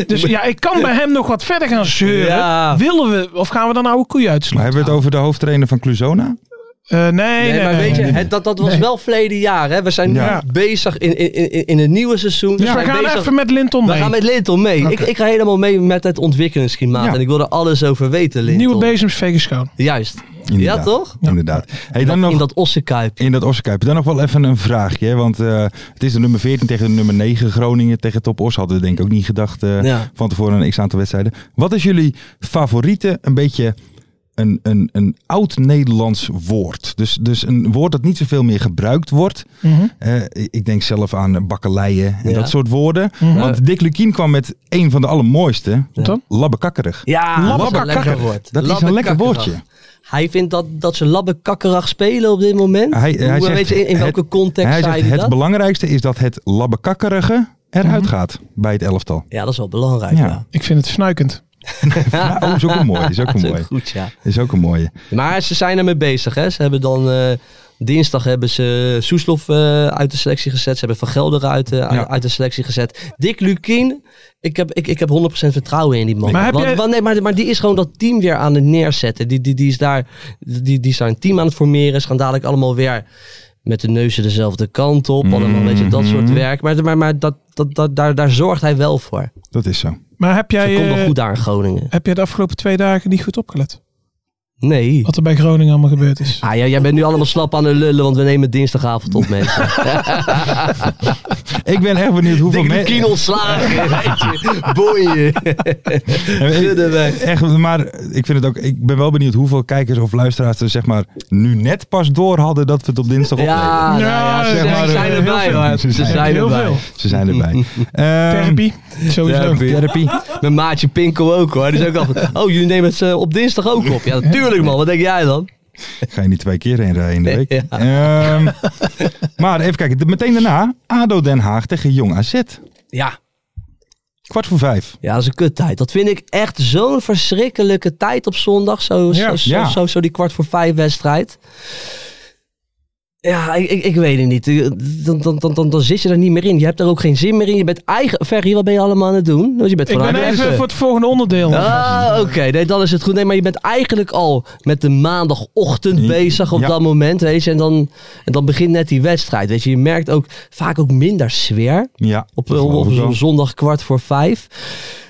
S6: dus ja ik kan bij hem nog wat verder gaan zeuren
S5: Ja.
S6: willen we of gaan we dan oude koeien uitslaan
S4: Maar hebben we het over de hoofdtrainer van Cluzona?
S6: Eh, nee,
S5: Nee,
S6: nee,
S5: maar
S6: nee,
S5: weet je,
S6: nee.
S5: het- dat, dat was
S6: Nee.
S5: wel verleden jaar. Hè? We zijn
S4: Ja.
S5: nu bezig in, in, in, in het nieuwe seizoen.
S6: dus we
S5: zijn
S6: gaan
S5: bezig-
S6: even met Linton
S5: we
S6: mee
S5: gaan met Linton mee. Ik, ik ga helemaal mee met het ontwikkelingsklimaat.
S4: Ja.
S5: En ik wil er alles over weten, Linton.
S6: nieuwe bezems vegen schoon
S5: Juist.
S4: Inderdaad.
S5: Ja, toch?
S4: Inderdaad. Hey, dan nog,
S5: In dat ossenkuip.
S4: In dat Ossenkuip. Dan nog wel even een vraagje. Hè? Want eh, het is de nummer 14 tegen de nummer 9 Groningen tegen Top Os. Hadden we denk ik ook niet gedacht eh,
S5: Ja.
S4: van tevoren een x-aantal wedstrijden. Wat is jullie favoriete, een beetje een, een, een oud Nederlands woord? Dus, dus een woord dat niet zoveel meer gebruikt wordt.
S6: Mhm.
S4: Eh, ik denk zelf aan bakkeleien en
S5: Ja.
S4: dat soort woorden. Want Dick Lukien kwam met een van de allermooiste.
S6: Mhm. Wat dan?
S4: Labbekakkerig.
S5: Ja, dat is een
S4: Labbekakkerig.
S5: lekker woord.
S4: Dat is een lekker
S5: Labbekakkerig.
S4: woordje.
S5: Hij vindt dat, dat ze labbekakkerag spelen op dit moment.
S4: Hij-
S5: Hoe
S4: hij
S5: weet
S4: zegt-
S5: je in, in
S4: het-
S5: welke context
S4: hij
S5: zei
S4: zegt,
S5: hij
S4: het
S5: dat? Mhm.
S4: belangrijkste is dat het labbekakkerige eruit gaat bij het elftal.
S5: Ja, dat is wel belangrijk.
S4: Ja.
S5: Ja.
S6: ik vind het snuikend
S5: Ah.
S4: Ja, oh, is ook een mooie. Is ook
S5: [LAUGHS]
S4: een
S5: Dat is
S4: mooie.
S5: ook goed, ja.
S4: Is ook een mooie.
S5: Maar ze zijn ermee bezig. Hè. Ze hebben dan eh, dinsdag hebben ze Soeslof eh, uit de selectie gezet. Ze hebben Van Gelder uit, de-
S4: Ja.
S5: uit de selectie gezet. Dick Lukien, ik heb, ik, ik heb 100% vertrouwen in die man.
S6: Maar heb
S5: Want-
S6: jij-
S5: want- nee, maar, maar die is gewoon dat team weer aan het neerzetten. Die, die, die is daar die, die is daar een team aan het formeren. Ze gaan dadelijk allemaal weer met de neuzen dezelfde kant op. Allemaal weet je, dat
S6: Mhm.
S5: soort werk. Maar, maar, maar dat, dat, dat, daar, daar zorgt hij wel voor.
S4: Dat is zo.
S6: maar heb
S5: Ze
S6: jij
S5: komt wel
S6: eh,
S5: goed aan in Groningen.
S6: heb jij de afgelopen twee dagen niet goed opgelet
S5: Nee.
S6: wat er bij Groningen allemaal gebeurd is
S5: Ah, ja, jij bent nu allemaal slap aan de lullen, want we nemen dinsdagavond
S6: [LAUGHS]
S5: op, mensen.
S4: Ik ben echt
S5: [LAUGHS]
S4: benieuwd hoeveel
S5: Dikke de
S4: mensen...
S5: kien
S4: [LAUGHS]
S5: ontslagen, weet je. Boeien. Gudde weg.
S4: Eh, Echt, maar ik, vind het ook, ik ben wel benieuwd hoeveel kijkers of luisteraars er zeg maar, nu net pas door hadden dat we het op dinsdag opnemen.
S5: Ja, nou ja, ze
S6: zeg
S5: ze
S6: maar,
S5: zijn
S6: eh,
S5: erbij
S6: heel veel.
S5: hoor. Ze
S4: Ze
S5: zijn
S6: heel
S5: erbij.
S6: veel
S4: Ze
S5: [LAUGHS]
S4: zijn erbij. Ehm,
S6: therapie sowieso
S4: Therapie.
S5: Mijn maatje Pinko ook hoor. Die is ook al
S6: [LAUGHS]
S5: van, oh jullie nemen het eh, op dinsdag ook op. Ja, natuurlijk man. Wat denk jij dan?
S4: Ga je niet twee keer heen rijden in de week.
S5: Ja.
S4: Ehm, maar even kijken. de- Meteen daarna. ADO Den Haag tegen Jong AZ.
S5: Ja.
S4: Kwart voor vijf.
S5: Ja, dat is een kuttijd. Dat vind ik echt zo'n verschrikkelijke tijd op zondag. Zo,
S6: Ja,
S5: zo, zo,
S4: ja.
S5: zo, zo die kwart voor vijf wedstrijd. Ja, ik, ik, ik weet het niet. Eh, Dan, dan, dan, dan, dan zit je er niet meer in. Je hebt er ook geen zin meer in. Je bent eigen... Ferry, wat ben je allemaal aan het doen? Want je bent
S6: ik
S5: van
S6: ben
S5: haar
S6: even
S5: mensen.
S6: voor het volgende onderdeel
S5: Ah, oké. Nee, dan is het goed. Nee, maar je bent eigenlijk al met de maandagochtend
S4: Ja.
S5: bezig op dat moment, weet je. En dan, en dan begint net die wedstrijd, weet je. Je merkt ook vaak ook minder sfeer
S4: Ja,
S5: op, eh,
S4: dat
S5: op,
S4: geloof
S5: op
S4: ik wel.
S5: zo'n zondag kwart voor vijf.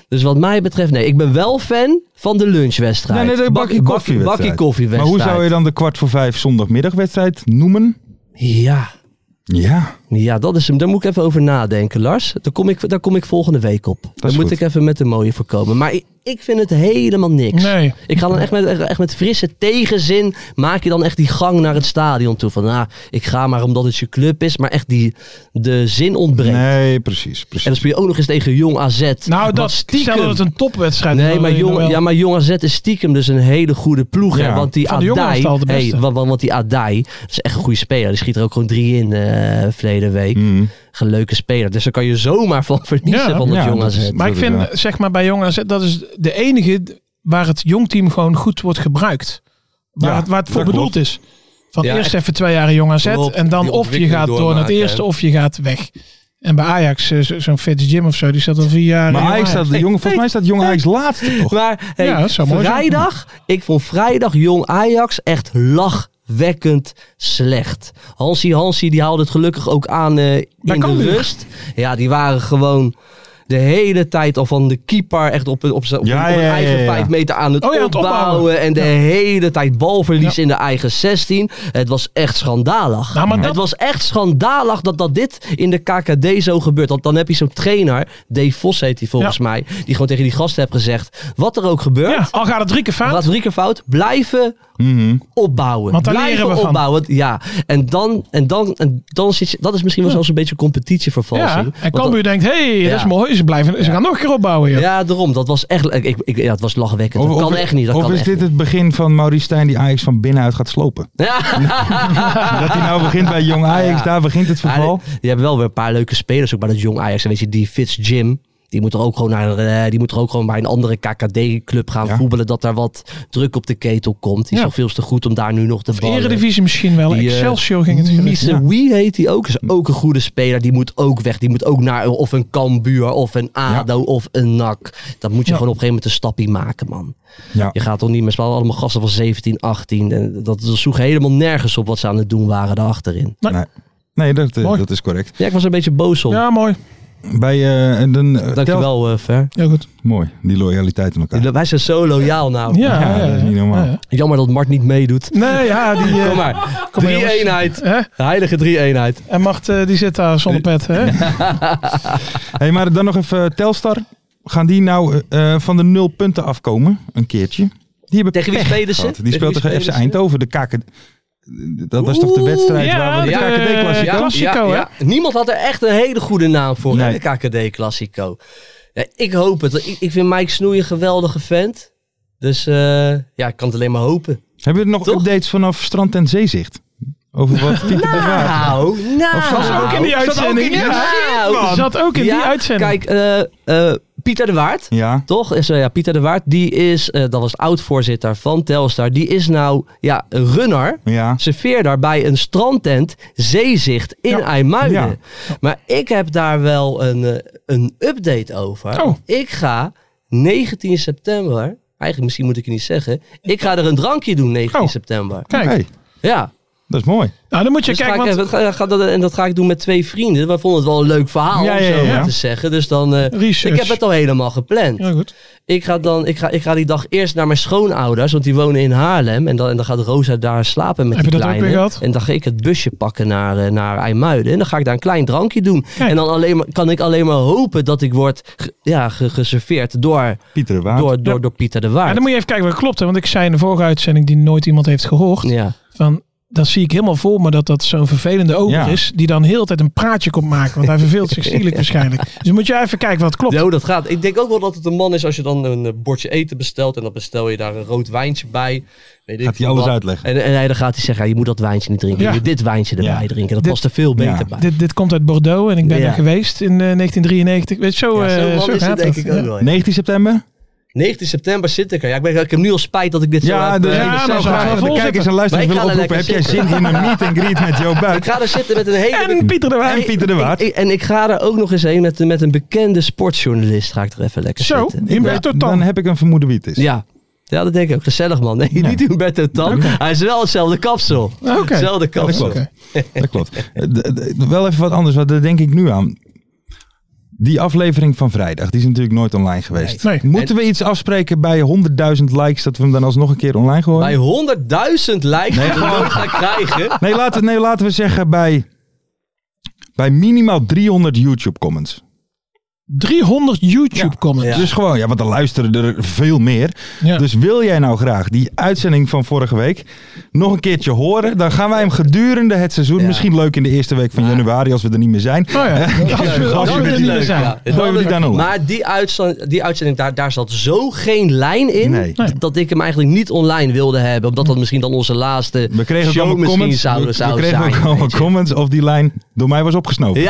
S5: Dus wat mij betreft, nee, ik ben wel fan van de lunchwedstrijd.
S4: Nee, nee, de
S5: Bak-
S4: bakkie
S5: bak-
S4: koffiewedstrijd.
S5: Bakkie koffiewedstrijd.
S4: Maar hoe zou je dan de kwart voor vijf zondagmiddagwedstrijd noemen?
S5: Ja,
S4: Ja,
S5: ja dat is hem. Daar moet ik even over nadenken, Lars. Daar kom ik, daar kom ik volgende week op. Daar
S4: is
S5: moet
S4: goed.
S5: ik even met de mooie voor komen. Maar ik, ik vind het helemaal niks.
S6: Nee.
S5: Ik ga dan echt met, echt met frisse tegenzin, maak je dan echt die gang naar het stadion toe. Van, nou, ik ga maar omdat het je club is, maar echt die, de zin ontbreekt.
S4: nee, precies.
S5: En dan
S4: precies.
S5: speel je ook nog eens tegen Jong AZ.
S6: Nou,
S5: Wat
S6: dat stiekem. Stel dat het een topwedstrijd is.
S5: Nee,
S6: dan
S5: maar
S6: wil je nog
S5: jong,
S6: wel-
S5: ja, maar jong AZ is stiekem dus een hele goede ploeg. hè?
S4: Ja,
S5: want die
S6: van de jongen is
S5: Adai,
S6: het al de beste.
S5: hey, want, want want die Adai dat is echt een goede speler. Die schiet er ook gewoon drie in eh verleden week.
S4: Mm.
S5: Een leuke speler. Dus daar kan je zomaar van verliezen
S6: Ja,
S5: van dat
S4: ja,
S5: jong
S4: dat
S5: AZ.
S4: is-
S6: Maar ik vind,
S4: Ja.
S6: zeg maar, bij Jong AZ, dat is de enige d- waar het jongteam gewoon goed wordt gebruikt. Waar
S4: Ja,
S6: het, waar het voor
S4: dat
S6: bedoeld is. Van
S5: Ja,
S6: eerst
S5: echt.
S6: even twee jaren Jong AZ
S5: Klopt,
S6: en dan
S5: die
S6: of je
S5: ontwikkeling
S6: gaat door naar het
S5: doormaken,
S6: eerste
S5: hè.
S6: of je gaat weg. En bij Ajax, eh, zo- zo'n Fitzjim of zo, die staat al vier jaar.
S4: Maar
S6: in
S4: Ajax staat, de jongen, volgens mij staat Jong Ajax laatste toch?
S5: Maar hey,
S6: Ja, dat zou mooi zijn.
S5: vrijdag, ik vond vrijdag jong Ajax echt lachwekkend slecht. Hansi Hansi die haalde het gelukkig ook aan eh, in de
S6: Cambuur.
S5: rust. Ja, die waren gewoon. de hele tijd al van de keeper echt op, op zijn op
S4: Ja,
S5: een- op een
S4: ja, ja,
S5: eigen
S4: ja, ja.
S5: vijf meter aan het
S6: Oh ja, aan het
S5: opbouwen.
S6: opbouwen.
S5: En de
S6: Ja.
S5: hele tijd balverlies
S6: Ja.
S5: in de eigen 16. Het was echt schandalig.
S6: Nou, maar dat-
S5: Het was echt schandalig dat, dat dit in de KKD zo gebeurt. Want dan heb je zo'n trainer, Dave Vos heet hij volgens
S6: Ja.
S5: mij, die gewoon tegen die gasten heeft gezegd, wat er ook gebeurt,
S6: Ja, al gaat het drie keer fout.
S5: Laat drie keer fout. Blijven
S4: Mhm.
S5: opbouwen.
S6: Want daar
S5: blijven
S6: leren we van.
S5: opbouwen. Ja. En dan, en dan, en dan zit je. Dat is misschien wel zelfs een beetje
S6: ja,
S5: competitievervalsing.
S6: en
S5: Want
S6: Cambuur denkt, hé, hey, dat is
S5: Ja.
S6: mooi. Ze, blijven, ze gaan nog een keer opbouwen.
S5: dat-
S6: joh.
S5: ja, daarom. Dat was echt. Ik, ik, ja, het was lachwekkend.
S4: Of-
S5: dat kan
S4: of-
S5: echt niet. Dat
S4: of
S5: kan
S4: is
S5: echt
S4: dit
S5: niet.
S4: het begin van Maurice Stijn die Ajax van binnenuit gaat slopen?
S5: [LAUGHS]
S4: dat hij nou begint bij jong Ajax,
S5: Ja.
S4: daar begint het
S5: Ja,
S4: verval.
S5: je hebt wel weer een paar leuke spelers ook bij dat jong Ajax. En Weet je, die Fitz Jim. Die moet, er ook gewoon naar, eh, die moet er ook gewoon bij een andere KKD-club gaan
S4: Ja.
S5: voetballen. Dat daar wat druk op de ketel komt. Die is
S6: Ja.
S5: al veel te goed om daar nu nog te
S6: De
S5: ballen.
S6: Eredivisie misschien wel.
S5: Die, eh,
S6: Excelsior ging het gerucht.
S5: Misse Wie heet die ook. Is ook een goede speler. Die moet ook weg. Die moet ook naar of een Cambuur of een ADO of een NAC. Dat moet je
S6: Ja.
S5: gewoon op een gegeven moment een stapje maken, man.
S4: Ja.
S5: Je gaat toch niet met z'n allen allemaal gasten van 17, 18. En dat, dat sloeg helemaal nergens op wat ze aan het doen waren daarachterin.
S4: Nee, nee dat, eh,
S6: Mooi.
S4: dat is correct.
S5: Ja, ik was een beetje boos om.
S6: Ja, mooi.
S4: Bij, eh, en dan, eh, telt-
S5: Dankjewel, eh, Fer.
S6: Heel goed.
S4: Mooi, die loyaliteit in elkaar.
S5: Wij zijn zo loyaal nou.
S6: Ja,
S4: Ja,
S6: ja,
S4: dat is
S6: ja.
S4: niet normaal.
S6: Ja, ja.
S5: Jammer dat Mart niet meedoet.
S6: Nee, ja, die... eh,
S5: Kom maar.
S6: kom maar, jongens.
S5: Drie eenheid.
S6: Hè?
S5: De heilige drie eenheid.
S6: En Mart, eh, die zit daar zonder pet. Hè?
S4: Hey, maar dan nog even eh, Telstar. Gaan die nou eh, eh, van de nul punten afkomen? Een keertje. Die hebben
S5: Tegen wie
S4: pech
S5: spelen ze?
S4: gehad. Die
S5: Tegen
S4: speelt
S5: wie
S4: tegen FC
S5: spelen ze?
S4: Eindhoven. De KKD. Dat was toch de wedstrijd
S6: ja,
S4: waar we de
S6: ja,
S4: KKD klassiek
S6: ja. Classico, hè?
S5: Niemand had er echt een hele goede naam voor, hè,
S4: Nee.
S5: de KKD Classico. Ja, ik hoop het. Ik, ik vind Mike Snoei een geweldige vent. Dus eh, ja, ik kan het alleen maar hopen.
S4: Hebben we nog
S5: Toch?
S4: updates vanaf Strand en Zeezicht? Over wat
S5: [LAUGHS]
S4: Pieter de Waard-
S5: Nou, nou.
S4: Of zat ze ook
S6: in die uitzending?
S5: Nou.
S6: Die zat ook in die
S5: Ja,
S6: uitzending.
S5: Kijk, eh, eh, Pieter de Waard.
S4: Ja.
S5: Toch? Is, eh, ja, Pieter de Waard, die is, eh, dat was oud-voorzitter van Telstar. Die is nou ja, runner,
S4: Ja.
S5: serveerder bij een strandtent Zeezicht in
S6: Ja.
S5: IJmuiden.
S4: Ja.
S5: Maar ik heb daar wel een, eh, een update over.
S6: Oh.
S5: Ik ga 19 september, eigenlijk misschien moet ik het niet zeggen. Ik ga er een drankje doen 19
S6: Oh.
S5: september.
S6: Kijk,
S4: Hey,
S5: Ja.
S4: dat is mooi.
S6: nou dan moet je
S5: Dus
S6: kijken,
S5: ga ik
S6: want
S5: even- ga- ga dat- en dat ga ik doen met twee vrienden. We vonden het wel een leuk verhaal
S4: Ja,
S5: om
S4: ja,
S5: zo
S4: ja.
S5: maar te zeggen. Dus dan, eh,
S6: Research.
S5: ik heb het al helemaal gepland.
S6: Ja, goed.
S5: Ik ga, dan, ik, ga, ik ga die dag eerst naar mijn schoonouders, want die wonen in Haarlem. En dan, en dan gaat Rosa daar slapen met
S6: Heb
S5: die
S6: je dat ook
S5: kleine.
S6: weer gehad?
S5: En dan ga ik het busje pakken naar, eh, naar IJmuiden. En dan ga ik daar een klein drankje doen.
S6: Kijk.
S5: En dan alleen maar, kan ik alleen maar hopen dat ik word ge- ja, ge- geserveerd door,
S4: Pieter de Waard.
S5: door, door, door Pieter de
S6: Ja,
S5: Waard.
S6: dan moet je even kijken wat klopt. Hè? Want ik zei in de vorige uitzending die nooit iemand heeft gehoord.
S5: Ja.
S6: Van, dat zie ik helemaal voor me dat dat zo'n vervelende ober
S4: Ja.
S6: is. Die dan heel de tijd een praatje komt maken. Want hij verveelt
S5: [LAUGHS]
S6: zich zielig waarschijnlijk. Dus dan moet je even kijken wat klopt.
S5: Ja, hoe Nou, dat gaat. Ik denk ook wel dat het een man is als je dan een eh, bordje eten bestelt. En dan bestel je daar een rood wijntje bij. Weet ik
S4: Gaat hij
S5: veel
S4: alles
S5: wat.
S4: uitleggen.
S5: En, en hij- dan gaat hij zeggen, ja, je moet dat wijntje niet drinken.
S6: Ja.
S5: Je moet dit wijntje erbij
S4: Ja.
S5: drinken. Dat
S6: Dit-
S5: past er veel beter
S4: Ja.
S5: bij.
S6: Dit, dit komt uit Bordeaux en ik ben
S5: Ja.
S6: er geweest in eh, 1993. Weet je, zo,
S5: Ja,
S6: eh,
S5: zo'n man
S6: zo
S5: is het
S6: gaat
S5: denk
S6: dat.
S5: ik ook
S6: Ja.
S5: wel. ja.
S4: 19 september?
S5: 19 september zit ik er. Ja, ik, ben, ik heb nu al spijt dat ik dit zo
S4: Ja,
S5: heb.
S4: de,
S5: eh,
S6: ja,
S5: zo
S6: maar we
S4: zo
S6: gaan
S5: graag-
S6: wel
S4: de
S6: vol
S4: kijkers
S6: zitten.
S5: Maar
S4: en luisteraars
S5: ik
S4: willen
S5: ga er
S4: oproepen. Heb jij
S5: lekker
S4: zin in een meet and greet met Joe
S5: Ik
S4: Buik?
S5: ga er zitten met een hele...
S6: En Pieter de Waard.
S4: En Pieter de Waard.
S5: Ik- en ik ga er ook nog eens heen met, met een bekende sportjournalist. Ga ik er even lekker
S6: Zo,
S5: zitten.
S6: Humberto Tan.
S4: Dan heb ik een vermoeden wie het is.
S5: Ja. Ja, dat denk ik ook. Gezellig, man. Nee, niet Humberto Tan. Hij is wel hetzelfde kapsel.
S6: Oké.
S5: Hetzelfde kapsel.
S4: klopt. Dat klopt. Eh, d- d- wel even wat anders, want daar denk ik nu aan. Die aflevering van vrijdag, die is natuurlijk nooit online geweest.
S6: Nee. Nee.
S4: Moeten we iets afspreken bij 100.000 likes, dat we hem dan alsnog een keer online gooien?
S5: Bij 100.000 likes die we nooit gaan krijgen.
S4: Nee, laten, nee, laten we zeggen bij, bij minimaal 300 YouTube comments.
S6: 300 YouTube comments.
S5: Ja.
S4: Dus gewoon, ja, want dan luisteren er veel meer.
S6: Ja.
S4: Dus wil jij nou graag die uitzending van vorige week nog een keertje horen? Dan gaan wij hem gedurende het seizoen,
S5: Ja.
S4: misschien leuk in de eerste week van januari als we er niet meer zijn.
S6: Oh ja, als we, als
S4: Als
S6: we
S4: je
S6: er
S4: bent
S6: niet
S4: leuk,
S6: meer zijn.
S5: ja.
S4: Gooien we die dan online?
S5: Maar die, uitzend, die uitzending, daar, daar zat zo geen lijn in.
S4: Nee.
S5: d- Dat ik hem eigenlijk niet online wilde hebben. Omdat dat misschien dan onze laatste
S4: We kregen ook
S5: show
S4: allemaal
S5: misschien
S4: comments,
S5: zou,
S4: we,
S5: zou
S4: we kregen
S5: zijn.
S4: ook allemaal
S5: weet je.
S4: comments of die lijn door mij was opgesnoven.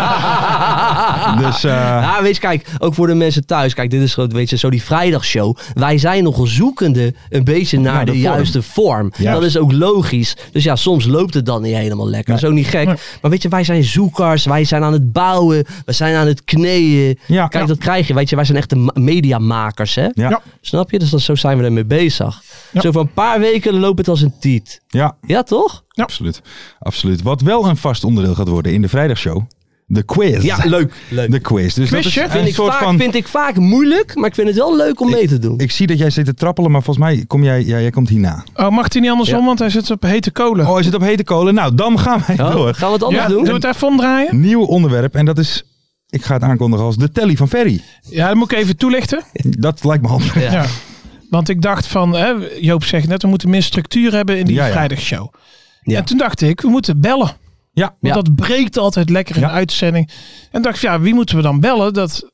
S5: Ja.
S4: Dus eh,
S5: Ja, Nou, weet je, kijk, ook voor de mensen thuis. Kijk, dit is gewoon, weet je, zo die vrijdagshow. Wij zijn nogal zoekende een beetje naar,
S4: Naar de
S5: de,
S4: vorm.
S5: juiste vorm.
S4: Juist.
S5: Dat is ook logisch. Dus ja, soms loopt het dan niet helemaal lekker.
S4: Nee.
S5: Zo niet gek. Maar weet je, wij zijn zoekers. Wij zijn aan het bouwen. We zijn aan het kneeën.
S4: Ja.
S5: kijk,
S4: Ja.
S5: dat krijg je. Weet je, wij zijn echt de ma- mediamakers, hè?
S4: ja, ja.
S5: Snap je? Dus dat, zo zijn we ermee bezig.
S6: Ja.
S5: Zo van een paar weken loopt het als een tiet. Ja, toch?
S6: Ja.
S4: Absoluut. absoluut. Wat wel een vast onderdeel gaat worden in de vrijdagshow, De quiz.
S5: Ja, leuk. leuk.
S4: De quiz. Dus dat is
S6: Quizje?
S4: een
S5: vind, ik
S4: soort
S5: vaak,
S4: van...
S5: vind ik vaak moeilijk, maar ik vind het wel leuk om mee te doen.
S4: Ik zie dat jij zit te trappelen, maar volgens mij kom jij, ja, jij komt hierna.
S6: Oh, mag hij niet andersom,
S5: Ja.
S6: want hij zit op hete kolen.
S4: Oh, hij zit op hete kolen. Nou, dan gaan wij
S5: Oh,
S4: door.
S5: gaan we het anders
S6: ja,
S5: doen?
S6: Doe het even omdraaien.
S4: Nieuw onderwerp en dat is, ik ga het aankondigen als de telly van Ferry.
S6: Ja, dat moet ik even toelichten.
S4: Dat lijkt me handig.
S5: Ja.
S6: Ja. Want ik dacht van, hè, Joop zegt net, we moeten meer structuur hebben in die
S4: Ja, ja.
S6: vrijdagshow.
S5: Ja.
S6: En toen dacht ik, we moeten bellen.
S4: Ja.
S5: Ja.
S6: Want dat breekt altijd lekker in
S4: Ja.
S6: de uitzending. En dacht ik, ja, wie moeten we dan bellen? Dat,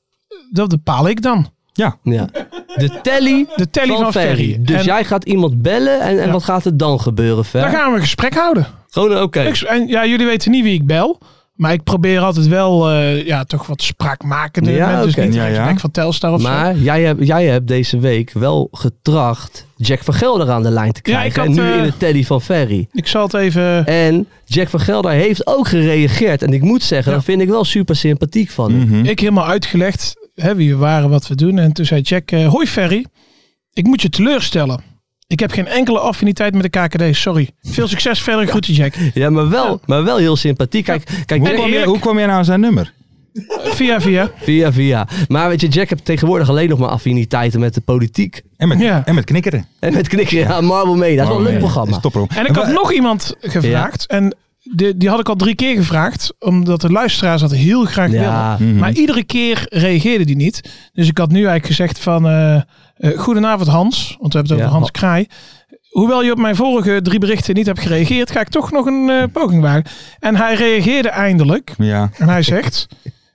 S6: dat bepaal ik dan.
S5: Ja. De
S6: [LAUGHS]
S5: telly
S6: De telly van,
S5: van
S6: Ferry.
S5: Ferry. Dus
S6: en
S5: jij gaat iemand bellen en, en
S6: Ja.
S5: wat gaat er dan gebeuren,
S6: daar
S5: Fer?
S6: gaan we een gesprek houden.
S5: Gewoon oké.
S6: Ik- en ja, jullie weten niet wie ik bel. Maar ik probeer altijd wel eh, ja, toch wat spraakmakender.
S5: Ja,
S6: met, Dus
S5: oké.
S6: niet
S4: Ja,
S6: een
S4: ja.
S6: gesprek van Telstar of zo.
S5: Maar jij hebt, jij hebt deze week wel getracht Jack van Gelder aan de lijn te
S6: Ja,
S5: krijgen.
S6: ik had,
S5: en nu
S6: eh,
S5: in de Teddy van Ferry.
S6: Ik zal het even...
S5: En Jack van Gelder heeft ook gereageerd. En ik moet zeggen,
S6: Ja.
S5: dat vind ik wel super sympathiek van hem.
S4: Mhm.
S6: Ik helemaal uitgelegd hè, wie we waren, wat we doen. En toen zei Jack, eh, hoi Ferry, ik moet je teleurstellen. Ik heb geen enkele affiniteit met de KKD, sorry. Veel succes verder, groeten Jack.
S5: [LAUGHS] Ja, maar wel,
S6: Ja.
S5: maar wel heel sympathiek. Kijk, kijk
S4: Hoe,
S6: En
S4: kwam je,
S6: Erik-
S4: hoe kwam jij nou aan zijn nummer?
S6: Via via.
S5: via via. Maar weet je, Jack heeft tegenwoordig alleen nog maar affiniteiten met de politiek.
S4: En met,
S6: Ja.
S4: en met knikkeren. Oh,
S5: En met knikken, ja, Marble mee. Dat is wel een leuk programma.
S4: Stop
S6: En ik had nog iemand gevraagd. En de, die had ik al drie keer gevraagd. Omdat de luisteraars dat heel graag wilden.
S5: Ja, Mhm.
S6: Maar iedere keer reageerde die niet. Dus ik had nu eigenlijk gezegd van... eh, eh, goedenavond Hans, want we hebben
S5: Ja,
S6: het over Hans
S5: Wa-
S6: Kraai. Hoewel je op mijn vorige drie berichten niet hebt gereageerd... ga ik toch nog een eh, poging wagen. En hij reageerde eindelijk.
S4: Ja.
S6: En hij zegt: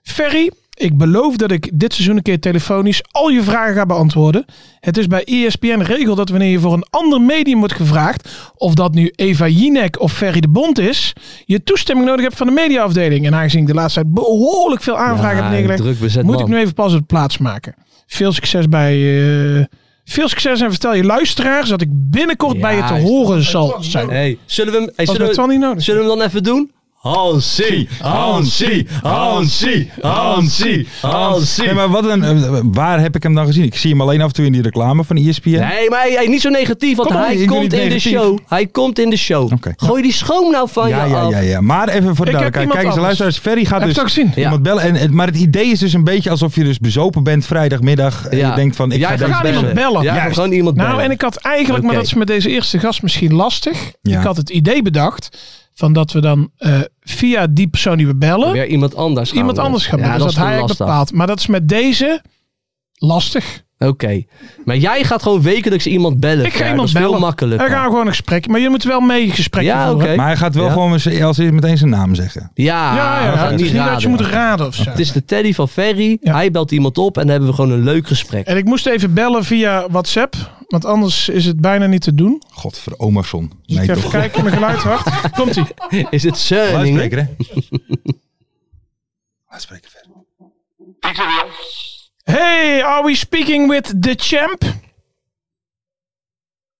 S6: Ferry, ik beloof dat ik dit seizoen een keer telefonisch al je vragen ga beantwoorden. Het is bij E ESPN regel dat wanneer je voor een ander medium wordt gevraagd, of dat nu Eva Jinek of Ferry de Bond is, je toestemming nodig hebt van de mediaafdeling. En aangezien ik de laatste tijd behoorlijk veel aanvragen
S5: Ja,
S6: heb neergelegd,
S5: druk bezet
S6: moet
S5: man.
S6: ik nu even pas op de plaats maken. Veel succes bij. eh, veel succes en vertel je luisteraars dat ik binnenkort bij je te
S5: Juist.
S6: horen zal zijn. Dat
S5: Hey, zullen we hem, hey,
S6: was
S5: zullen,
S6: met
S5: we,
S6: Twan niet nodig.
S5: zullen we hem dan even doen? Hansie, Hansie, Hansie, Hansie,
S4: Nee,
S5: Hansie.
S4: maar wat een, eh, waar heb ik hem dan gezien? Ik zie hem alleen af en toe in die reclame van E ESPN.
S5: Nee, maar hey, hey, niet zo negatief, want
S4: Kom op, ik
S5: hij
S4: ben
S5: komt in
S4: niet
S5: de
S4: negatief.
S5: show. Hij komt in de show.
S4: Oké.
S5: Gooi die schoon nou van
S4: Ja,
S5: je
S4: ja,
S5: af.
S4: ja, ja. Maar even voor de
S6: Ik heb
S4: duidelijkheid.
S6: iemand
S4: Kijk eens,
S6: anders.
S4: luisteraars. Ferry gaat
S6: Heb je
S4: dus
S6: het ook gezien?
S5: Ja.
S4: iemand bellen. En, het- maar het idee is dus een beetje alsof je dus bezopen bent vrijdagmiddag. En
S5: Ja.
S4: je denkt van, ik
S5: Jij
S4: ga
S5: gaat
S4: deze...
S6: gaan iemand
S5: bellen.
S6: bellen.
S5: Ja,
S6: Juist.
S5: gewoon iemand bellen.
S6: Nou, en ik had eigenlijk, maar
S5: Oké.
S6: dat is met deze eerste gast misschien lastig.
S4: Ja.
S6: Ik had het idee bedacht van dat we dan eh, via die persoon die we bellen,
S5: Weer iemand anders gaan
S6: iemand
S5: we.
S6: anders gaan
S5: Ja,
S6: bellen.
S5: dat
S6: dus
S5: is
S6: dat
S5: te
S6: hij eigenlijk
S5: lastig.
S6: bepaalt. Maar dat is met deze lastig.
S5: Oké. Maar jij gaat gewoon wekelijks iemand bellen.
S6: ik ga
S5: Fer.
S6: iemand
S5: dat is
S6: bellen.
S5: veel makkelijker.
S6: We gaan gewoon een gesprek. Maar je moet wel mee gesprekken
S5: Ja,
S6: voeren.
S5: oké.
S4: Maar hij gaat wel
S5: Ja.
S4: gewoon eens- als eerst meteen zijn naam zeggen.
S5: Ja,
S6: Ja, ja,
S5: Ah, we gaan
S6: het is niet dat je moet raden of zo.
S5: Het is de Teddy van Ferry.
S6: Ja.
S5: Hij belt iemand op en dan hebben we gewoon een leuk gesprek.
S6: En ik moest even bellen via WhatsApp. Want anders is het bijna niet te doen.
S4: Godver, Omerson.
S6: Dus
S4: Nee,
S6: ik ga even
S4: toch.
S6: kijken, mijn geluid hard. Komt-ie.
S5: Is het Zeuning?
S4: Luidspreker, hè? Luidspreker, Ferry.
S6: Hey, are we speaking with the champ?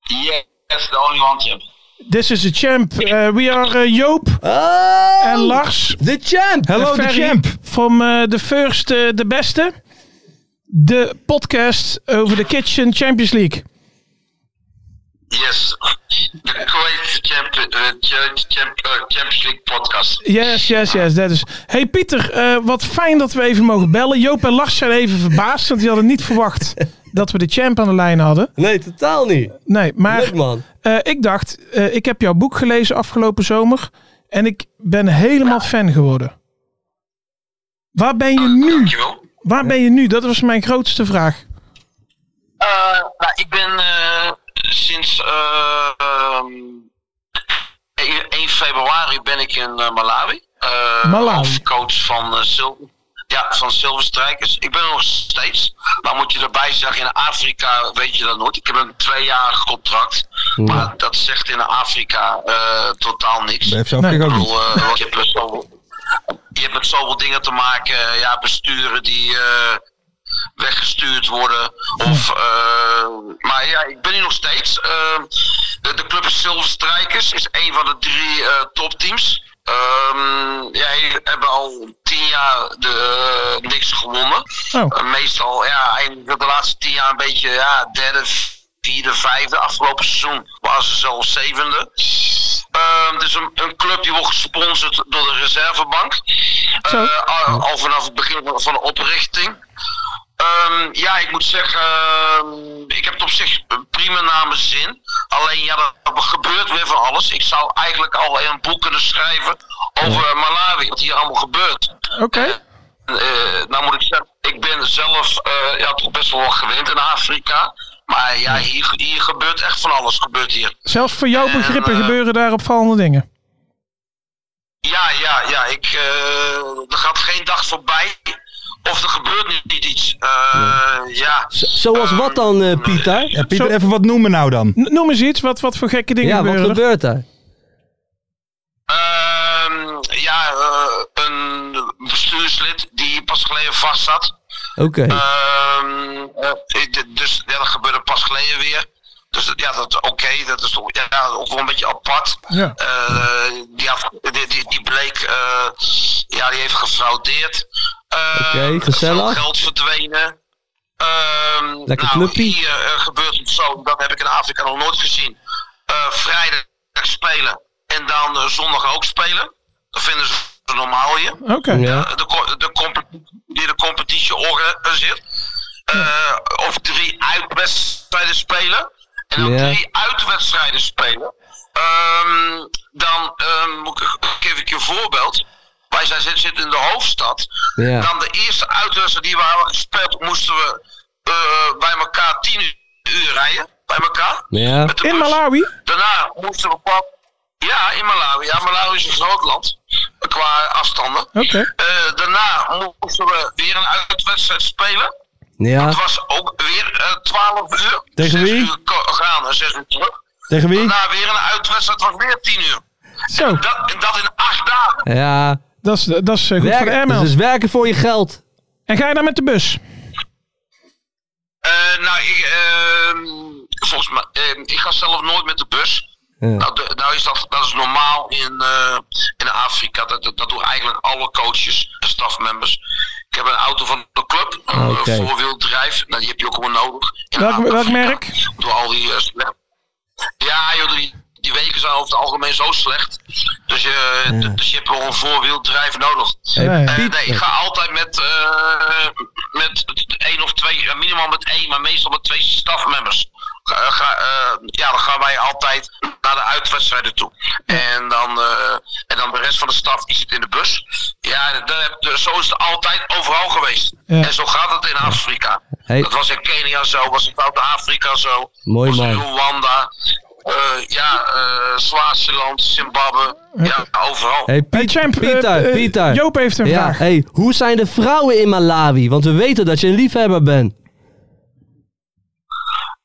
S7: Yes, the only one champ.
S6: This is the champ. Uh, we are uh, Joop
S5: Oh,
S6: en Lars.
S5: de champ!
S4: Hello, the
S6: Ferry
S4: champ.
S6: From uh, the first, uh, the beste. De podcast over de Kitchen Champions League.
S7: Yes, the great champ, uh, ch- champ, uh, Champions League podcast.
S6: Yes, yes, yes. Dat is. Hey Pieter, eh, wat fijn dat we even mogen bellen. Joop en Lars zijn even verbaasd, want die hadden niet verwacht dat we de champ aan de lijn hadden.
S5: Nee, totaal niet.
S6: Nee, maar
S5: Leuk man.
S6: eh, ik dacht, eh, ik heb jouw boek gelezen afgelopen zomer en ik ben helemaal fan geworden. Waar ben je nu?
S7: Dankjewel.
S6: Waar ben je nu? Dat was mijn grootste vraag.
S7: Eh, nou, ik ben eh, sinds eh, ehm, 1 februari ben ik in eh, Malawi. Eh,
S6: Malawi.
S7: Als coach van, eh Sil- ja, van Silverstrijkers. Ik ben er nog steeds. Maar moet je erbij zeggen, in Afrika weet je dat nooit. Ik heb een tweejarig contract. Maar dat zegt in Afrika eh, totaal niks.
S4: Bij FC Afrika ook niet.
S7: Ik bedoel, eh, want je, hebt met zoveel, je hebt met zoveel dingen te maken. eh, Ja, besturen die eh, weggestuurd worden. Of, eh, maar ja, ik ben hier nog steeds. Eh, de, de club Silverstrijkers is een van de drie eh, topteams. Ehm jij hebben al tien jaar de, eh, niks gewonnen.
S6: Oh.
S7: Eh, meestal, ja, eigenlijk de laatste tien jaar een beetje ja, derde, vierde, vijfde. Afgelopen seizoen waren ze zelfs zevende. Ehm, dus een, een club die wordt gesponsord door de reservebank. Eh,
S6: Zo.
S7: eh, al, al vanaf het begin van, van de oprichting. Ehm, ja, ik moet zeggen, ehm, ik heb het op zich prima naar mijn zin. Alleen ja, er gebeurt weer van alles. Ik zou eigenlijk al een boek kunnen schrijven over Malawi, wat hier allemaal gebeurt.
S6: Oké.
S7: Eh, nou moet ik zeggen, ik ben zelf eh, ja, toch best wel wat gewend in Afrika. Maar ja, hier, hier gebeurt echt van alles. Gebeurt hier.
S6: Zelfs voor jouw
S7: En,
S6: begrippen
S7: eh,
S6: gebeuren daar opvallende dingen.
S7: Ja, ja, ja. Ik, eh, er gaat geen dag voorbij of er gebeurt nu niet iets. Eh, ja.
S5: Zo- Zoals wat dan, eh Pieter?
S4: Ja, Pieter,
S6: Zo-
S4: even wat noemen nou dan.
S6: N- Noem eens iets, wat, wat voor gekke dingen
S5: Ja, wat
S6: gebeuren. er?
S5: gebeurt daar?
S7: Ehm, ja, eh, een bestuurslid die pas geleden vast zat.
S5: Oké.
S7: Ehm, eh, d- dus ja, dat gebeurde pas geleden weer. Dus dat- ja, dat oké, dat is toch ja, ja, ook wel een beetje apart.
S6: Ja.
S7: Eh, die, had- die, die, die bleek, eh, ja, die heeft gefraudeerd. Eh,
S5: Oké, gezellig.
S7: veel Geld verdwenen. Ehm,
S5: Lekker
S7: nou,
S5: clubpie.
S7: Hier eh, gebeurt het zo, dat heb ik in Afrika nog nooit gezien. Eh, vrijdag spelen en dan eh, zondag ook spelen. Dat vinden ze normaal hier
S6: Oké.
S5: Ja.
S7: de, co- de, competitie, die de competitie organiseert. eh of drie uitwedstrijden spelen. En dan
S5: Ja.
S7: drie uitwedstrijden spelen. Ehm, dan ehm, moet ik, geef ik je een voorbeeld. Wij zijn, zit- zitten in de hoofdstad.
S5: Ja.
S7: Dan de eerste uitwedstrijd die we hadden gespeeld, moesten we eh, bij elkaar tien uur rijden. Bij elkaar.
S5: Ja.
S7: Met de
S6: In
S7: bus.
S6: Malawi?
S7: Daarna moesten we qua... Ja, in Malawi. Ja, Malawi is een groot land. eh, Qua afstanden.
S6: Oké.
S7: Eh, daarna moesten we weer een uitwedstrijd spelen. Het
S5: Ja.
S7: was ook weer eh, 12 uur.
S4: Tegen
S7: Zes
S4: wie?
S7: uur ko- gaan en 6 uur terug.
S4: Tegen wie?
S7: Daarna weer een uitwedstrijd, het was weer 10 uur.
S6: Zo,
S7: Dat, en dat in 8 dagen.
S5: Ja.
S6: dat is, dat is eh, goed voor de
S5: Werken.
S6: airmail.
S5: Dus werken voor je geld.
S6: En ga je dan met de bus?
S7: Eh, nou, ik, ehm, volgens mij, ehm, ik ga zelf nooit met de bus.
S5: Ja.
S7: Nou, de- nou is dat, dat is normaal in, eh, in Afrika. Dat, dat, dat doen eigenlijk alle coaches en stafmembers. Ik heb een auto van de club, een
S5: Oké.
S7: voorwieldrijf. Nou, die heb je ook gewoon nodig. In
S6: Ah, Welk, welk
S7: Afrika.
S6: merk?
S7: Door al die eh, slecht. Ja, joh, die, die weken zijn over het algemeen zo slecht. Dus je, d- dus je hebt wel een voorwieldrijf nodig.
S6: Nee.
S7: Eh, nee, ik
S5: Pieter.
S7: ga altijd met, eh, met één of twee, eh, minimaal met één, maar meestal met twee stafmembers. Ga- ga- eh, ja, dan gaan wij altijd naar de uitwedstrijden toe. En dan, eh, en dan de rest van de staf die zit in de bus. Ja, dat heb- dus zo is het altijd overal geweest.
S6: Ja.
S7: En zo gaat het in Afrika.
S5: Hey.
S7: Dat was in Kenia zo, was in Zuid-Afrika zo.
S5: Mooi
S7: was in
S5: man.
S7: Rwanda. eh, ja, eh, Swaziland, Zimbabwe. Ja, overal.
S5: Hey, Piet-
S6: Hey, Champ, eh,
S5: Pieter,
S6: eh,
S5: Pieter.
S6: Joop heeft een
S5: Ja,
S6: vraag.
S5: hey, hoe zijn de vrouwen in Malawi? Want we weten dat je een liefhebber bent.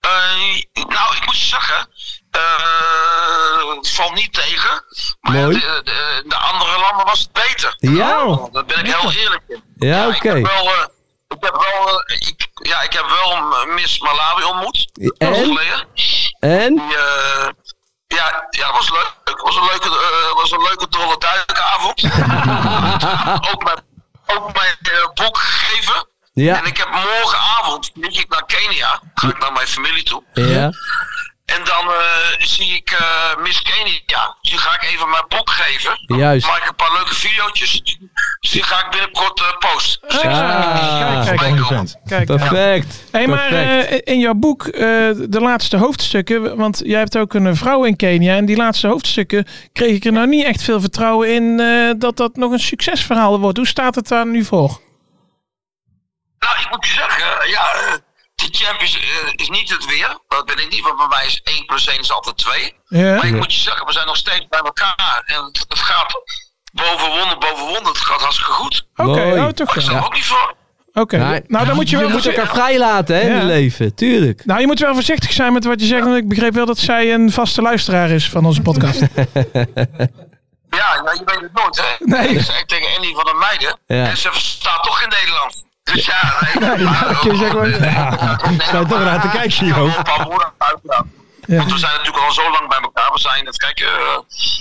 S7: Eh, nou, ik moet je zeggen, eh, het valt niet tegen. Maar ja,
S5: Mooi.
S7: de, de- de andere landen was het beter.
S5: Ja?
S7: Nou, Daar ben ik heel eerlijk in.
S5: Ja,
S7: ik
S5: oké.
S7: heb wel, eh, ik heb wel, eh, ik, ja, ik heb wel eh, Miss Malawi ontmoet. Dat was
S5: En?
S7: geleden.
S5: En?
S7: Die, eh, ja, ja, dat was leuk. Het was een leuke, eh, was een leuke dolle
S5: [LAUGHS]
S7: duikenavond. ook mijn, ook mijn eh, boek gegeven.
S5: Ja.
S7: En ik heb morgenavond, vlieg ik naar Kenia, ga ik naar mijn familie toe.
S5: Ja.
S7: En dan eh, zie ik eh, Miss Kenia. Dus die ga ik even mijn boek geven.
S5: Juist.
S7: Maak ik een paar leuke video's. Dus die ga ik binnenkort eh, posten. Dus
S5: Ja.
S6: Ah, Kijk, kijk,
S7: voorbij komen.
S4: Interessant.
S6: kijk.
S5: Perfect.
S6: Hey, maar
S5: Perfect.
S6: eh, in jouw boek, eh, de laatste hoofdstukken, want jij hebt ook een eh, vrouw in Kenia. En die laatste hoofdstukken kreeg ik er nou niet echt veel vertrouwen in eh, dat dat nog een succesverhaal wordt. Hoe staat het daar nu voor?
S7: Nou, ik moet je zeggen, ja, eh, de Champions eh, is niet het weer. Dat ben ik niet, want bij mij is 1 plus 1 is altijd 2.
S6: Ja.
S7: Maar ik moet je zeggen, we zijn nog steeds bij elkaar. En het, het gaat boven wonder, boven wonder. Het gaat hartstikke goed.
S6: Oké,
S5: Mooi.
S6: oh, toch
S7: Maar ik
S6: wel.
S7: sta er ook niet voor.
S6: Oké,
S5: Nee.
S6: nou dan moet je wel...
S5: Je moet
S6: voorzi-
S5: elkaar vrijlaten hè, in
S6: Ja.
S5: het leven. Tuurlijk.
S6: Nou, je moet wel voorzichtig zijn met wat je zegt, want ik begreep wel dat zij een vaste luisteraar is van onze podcast.
S7: Ja, nou, je weet het nooit, hè?
S6: Nee.
S7: Ik zei tegen Andy van der Meijden.
S5: Ja.
S7: En ze verstaat toch in Nederland. Dus ja, nee. maar- eh,
S6: kun je zeggen, maar-
S7: Nee,
S4: Sta je toch naar te kijken,
S7: maar-
S4: Joop?
S7: een paar woorden uitlaten. Want we zijn natuurlijk al zo lang bij elkaar. We zijn, het, kijk, eh,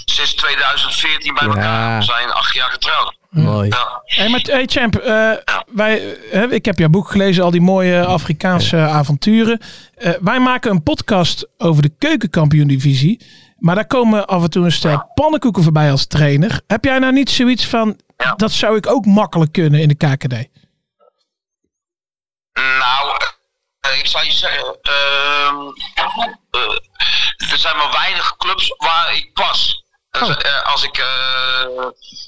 S7: sinds 2014 bij elkaar. We zijn acht jaar getrouwd.
S5: Mooi.
S7: Ja.
S6: Hey, maar hey champ, eh, wij, eh, ik heb jouw boek gelezen, al die mooie Afrikaanse avonturen. Eh, wij maken een podcast over de keukenkampioen-divisie. Maar daar komen af en toe een stel pannenkoeken voorbij als trainer. Heb jij nou niet zoiets van,
S7: Ja.
S6: dat zou ik ook makkelijk kunnen in de KKD.
S7: Nou, eh, ik zou je zeggen, ehm, eh, er zijn maar weinig clubs waar ik pas. Dus, eh, als ik, eh,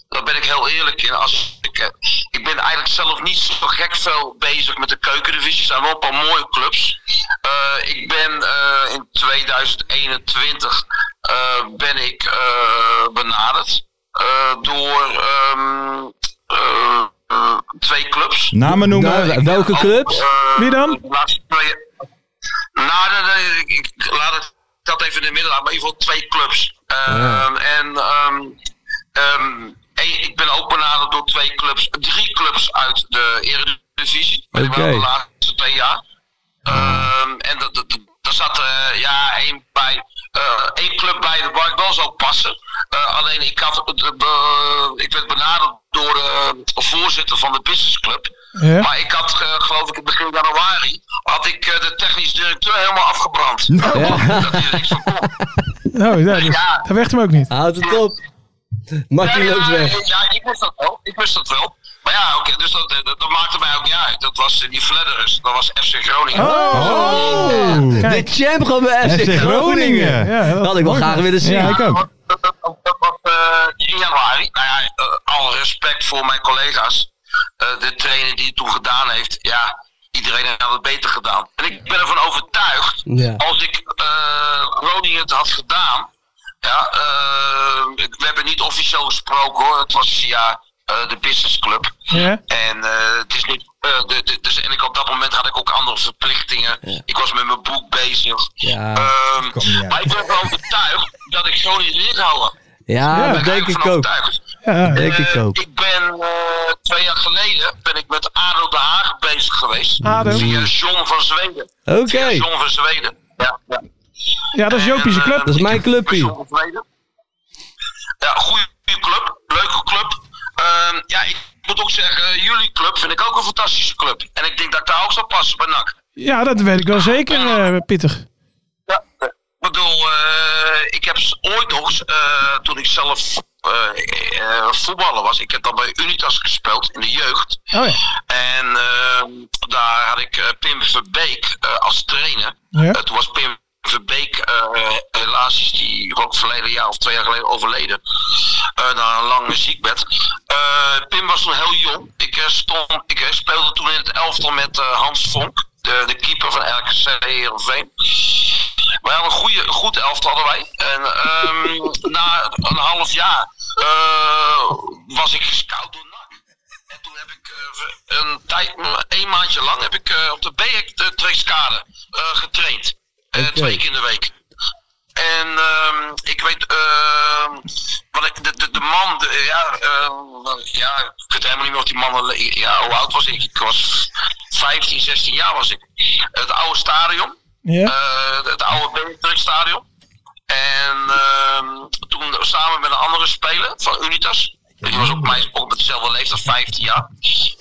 S7: daar ben ik heel eerlijk in. Als ik, eh, ik ben eigenlijk zelf niet zo gek veel bezig met de keukendivisie. Er zijn wel een paar mooie clubs. Eh, ik ben eh, in 2021 eh, ben ik eh, benaderd eh, door ehm, eh, eh, twee clubs.
S4: Namen noemen.
S5: Nou, welke clubs?
S7: Eh,
S6: Wie dan?
S7: de laatste twee- Nou, dat- dat- ik, ik laat het, dat even in het midden laten, maar in ieder geval twee clubs. Eh, En ehm, ehm, één- ik ben ook benaderd door twee clubs, drie clubs uit de Eredivisie. Ben ik wel
S5: Oké.
S7: de laatste twee jaar. Ehm, en dat, dat, dat- daar zat eh, ja, één, bij, eh, één club bij de waar ik wel zou passen. Eh, alleen ik, had, de- de- ik werd benaderd door de voorzitter van de businessclub.
S6: Ja.
S7: Maar ik had, eh, geloof ik, in begin januari, had ik eh, de technisch directeur helemaal afgebrand.
S5: Nou.
S7: Dat hij er niks
S5: [LAUGHS]
S7: van kon.
S6: Nou, ja, dus,
S7: Ja.
S6: dat werd hem ook niet.
S5: Houd het op. Martin
S7: ja,
S5: loopt
S7: ja,
S5: weg.
S7: Ja, ik wist dat wel. Ik wist dat wel. Maar ja, oké, dus dat, eh, dat, dat maakte mij ook niet uit. Dat was eh, die Fledderers, dat was FC Groningen.
S4: Oh,
S5: De champ gewoon bij FC,
S4: FC Groningen.
S6: Ja, dat
S5: Dat had ik wel
S6: mooi.
S5: graag willen zien.
S4: Ja, ik ook.
S7: Dat, dat- dat was eh, in januari. Nou ja, eh, alle respect voor mijn collega's. Eh, de trainer die het toen gedaan heeft, ja, iedereen had het beter gedaan. En ik ben ervan overtuigd,
S5: Ja.
S7: als ik eh, Groningen het had gedaan. Ja, eh, ik- we hebben niet officieel gesproken hoor, het was via eh, de business club.
S6: Ja.
S7: En, eh, het is niet, eh, de- de- dus, en ik, op dat moment had ik ook andere verplichtingen. Ik was met mijn boek bezig.
S5: Ja,
S7: Ehm,
S4: Kom niet uit.
S7: maar ik ben ervan overtuigd dat ik Groningen erin houden.
S5: ja,
S6: Ja.
S5: dat denk ik ook.
S6: Ja,
S5: Denk ik
S7: Eh,
S5: ook.
S7: Ik ben eh, twee jaar geleden ben ik met Adel de Haag bezig geweest.
S6: ADO.
S7: Via John van Zweden.
S5: Oké,
S7: Via John van Zweden. Ja, ja.
S6: ja, dat is Jopie's
S7: En, eh,
S6: club.
S5: dat is mijn
S7: bij
S5: clubje.
S7: John van Zweden. Ja, goede club. Leuke club. Ehm, ja, ik moet ook zeggen, eh, jullie club vind ik ook een fantastische club. En ik denk dat ik daar ook zou passen bij NAC.
S6: Ja, dat weet ik wel zeker, eh, Pieter.
S7: Ja. Ik bedoel, eh, ik heb s- ooit nog, eens, eh, toen ik zelf eh, eh, voetballer was, ik heb dan bij Unitas gespeeld in de jeugd.
S6: Oh ja.
S7: En ehm, daar had ik eh, Pim Verbeek eh, als trainer.
S6: Ja.
S7: Eh, toen was Pim Verbeek, eh, helaas is die ook verleden jaar of twee jaar geleden overleden. eh, na een lange ziekbed. Eh, Pim was toen heel jong. Ik, eh, stond, ik eh, speelde toen in het elftal met eh, Hans Vonk, de, de keeper van RKC Heerenveen. We hadden een goede, goed elftal hadden wij. En ehm, na een half jaar eh, was ik gescout door NAC. En toen heb ik eh, ver- een tijd, een maandje lang, heb ik eh, op de BEC de Treeskade eh, getraind. Eh, Twee keer in de week. En ehm, ik weet, ehm, wat ik, de, de, de man, de, ja, ehm, wat- ja, ik weet helemaal niet meer of die man, al- ja, hoe oud was ik? Ik was 15, 16 jaar was ik. Het oude stadion,
S6: Ja.
S7: eh, het oude Beatrix Stadion. En ehm, toen samen met een andere speler van Unitas. Die was ook, mij, ook met dezelfde leeftijd, 15 jaar.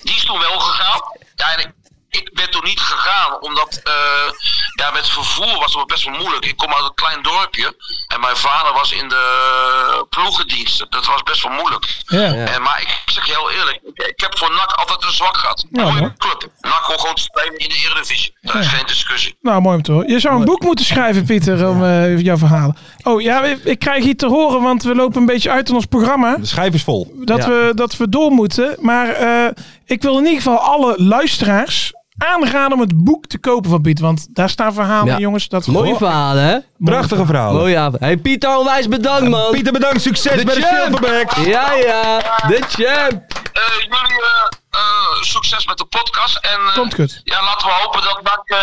S7: Die is toen wel gegaan. Ja, en ik, ik ben toen niet gegaan, omdat eh, ja, met vervoer was het best wel moeilijk. Ik kom uit een klein dorpje en mijn vader was in de ploegendiensten. Dat was best wel moeilijk.
S6: Ja.
S7: En, maar ik zeg je heel eerlijk, ik, ik heb voor NAC altijd een zwak gehad.
S6: Ja,
S7: Mooie
S6: hoor.
S7: club. NAC kon gewoon spelen in de Eredivisie. Daar is
S6: Ja.
S7: geen discussie.
S6: Nou, mooi om te horen. Je zou een boek moeten schrijven, Pieter, om eh, jouw verhalen. Oh ja, ik, ik krijg hier te horen, want we lopen een beetje uit in ons programma.
S4: De schijf is vol.
S6: Dat,
S5: Ja.
S6: we, dat we door moeten. Maar eh, ik wil in ieder geval alle luisteraars aanraden om het boek te kopen van Piet. Want daar staan verhalen,
S5: Ja.
S6: jongens. Dat
S5: Mooie
S6: Goh,
S5: verhalen, hè?
S4: Prachtige verhalen.
S5: Mooi avond. Hey Pieter, onwijs bedankt, man.
S4: Pieter, bedankt. Succes
S5: De
S4: bij de
S5: champ.
S4: Silverback.
S5: Ja, ja, de champ.
S7: Eh, jullie eh, eh, succes met de podcast. En eh,
S6: Komt goed.
S7: ja, laten we hopen dat NAC eh,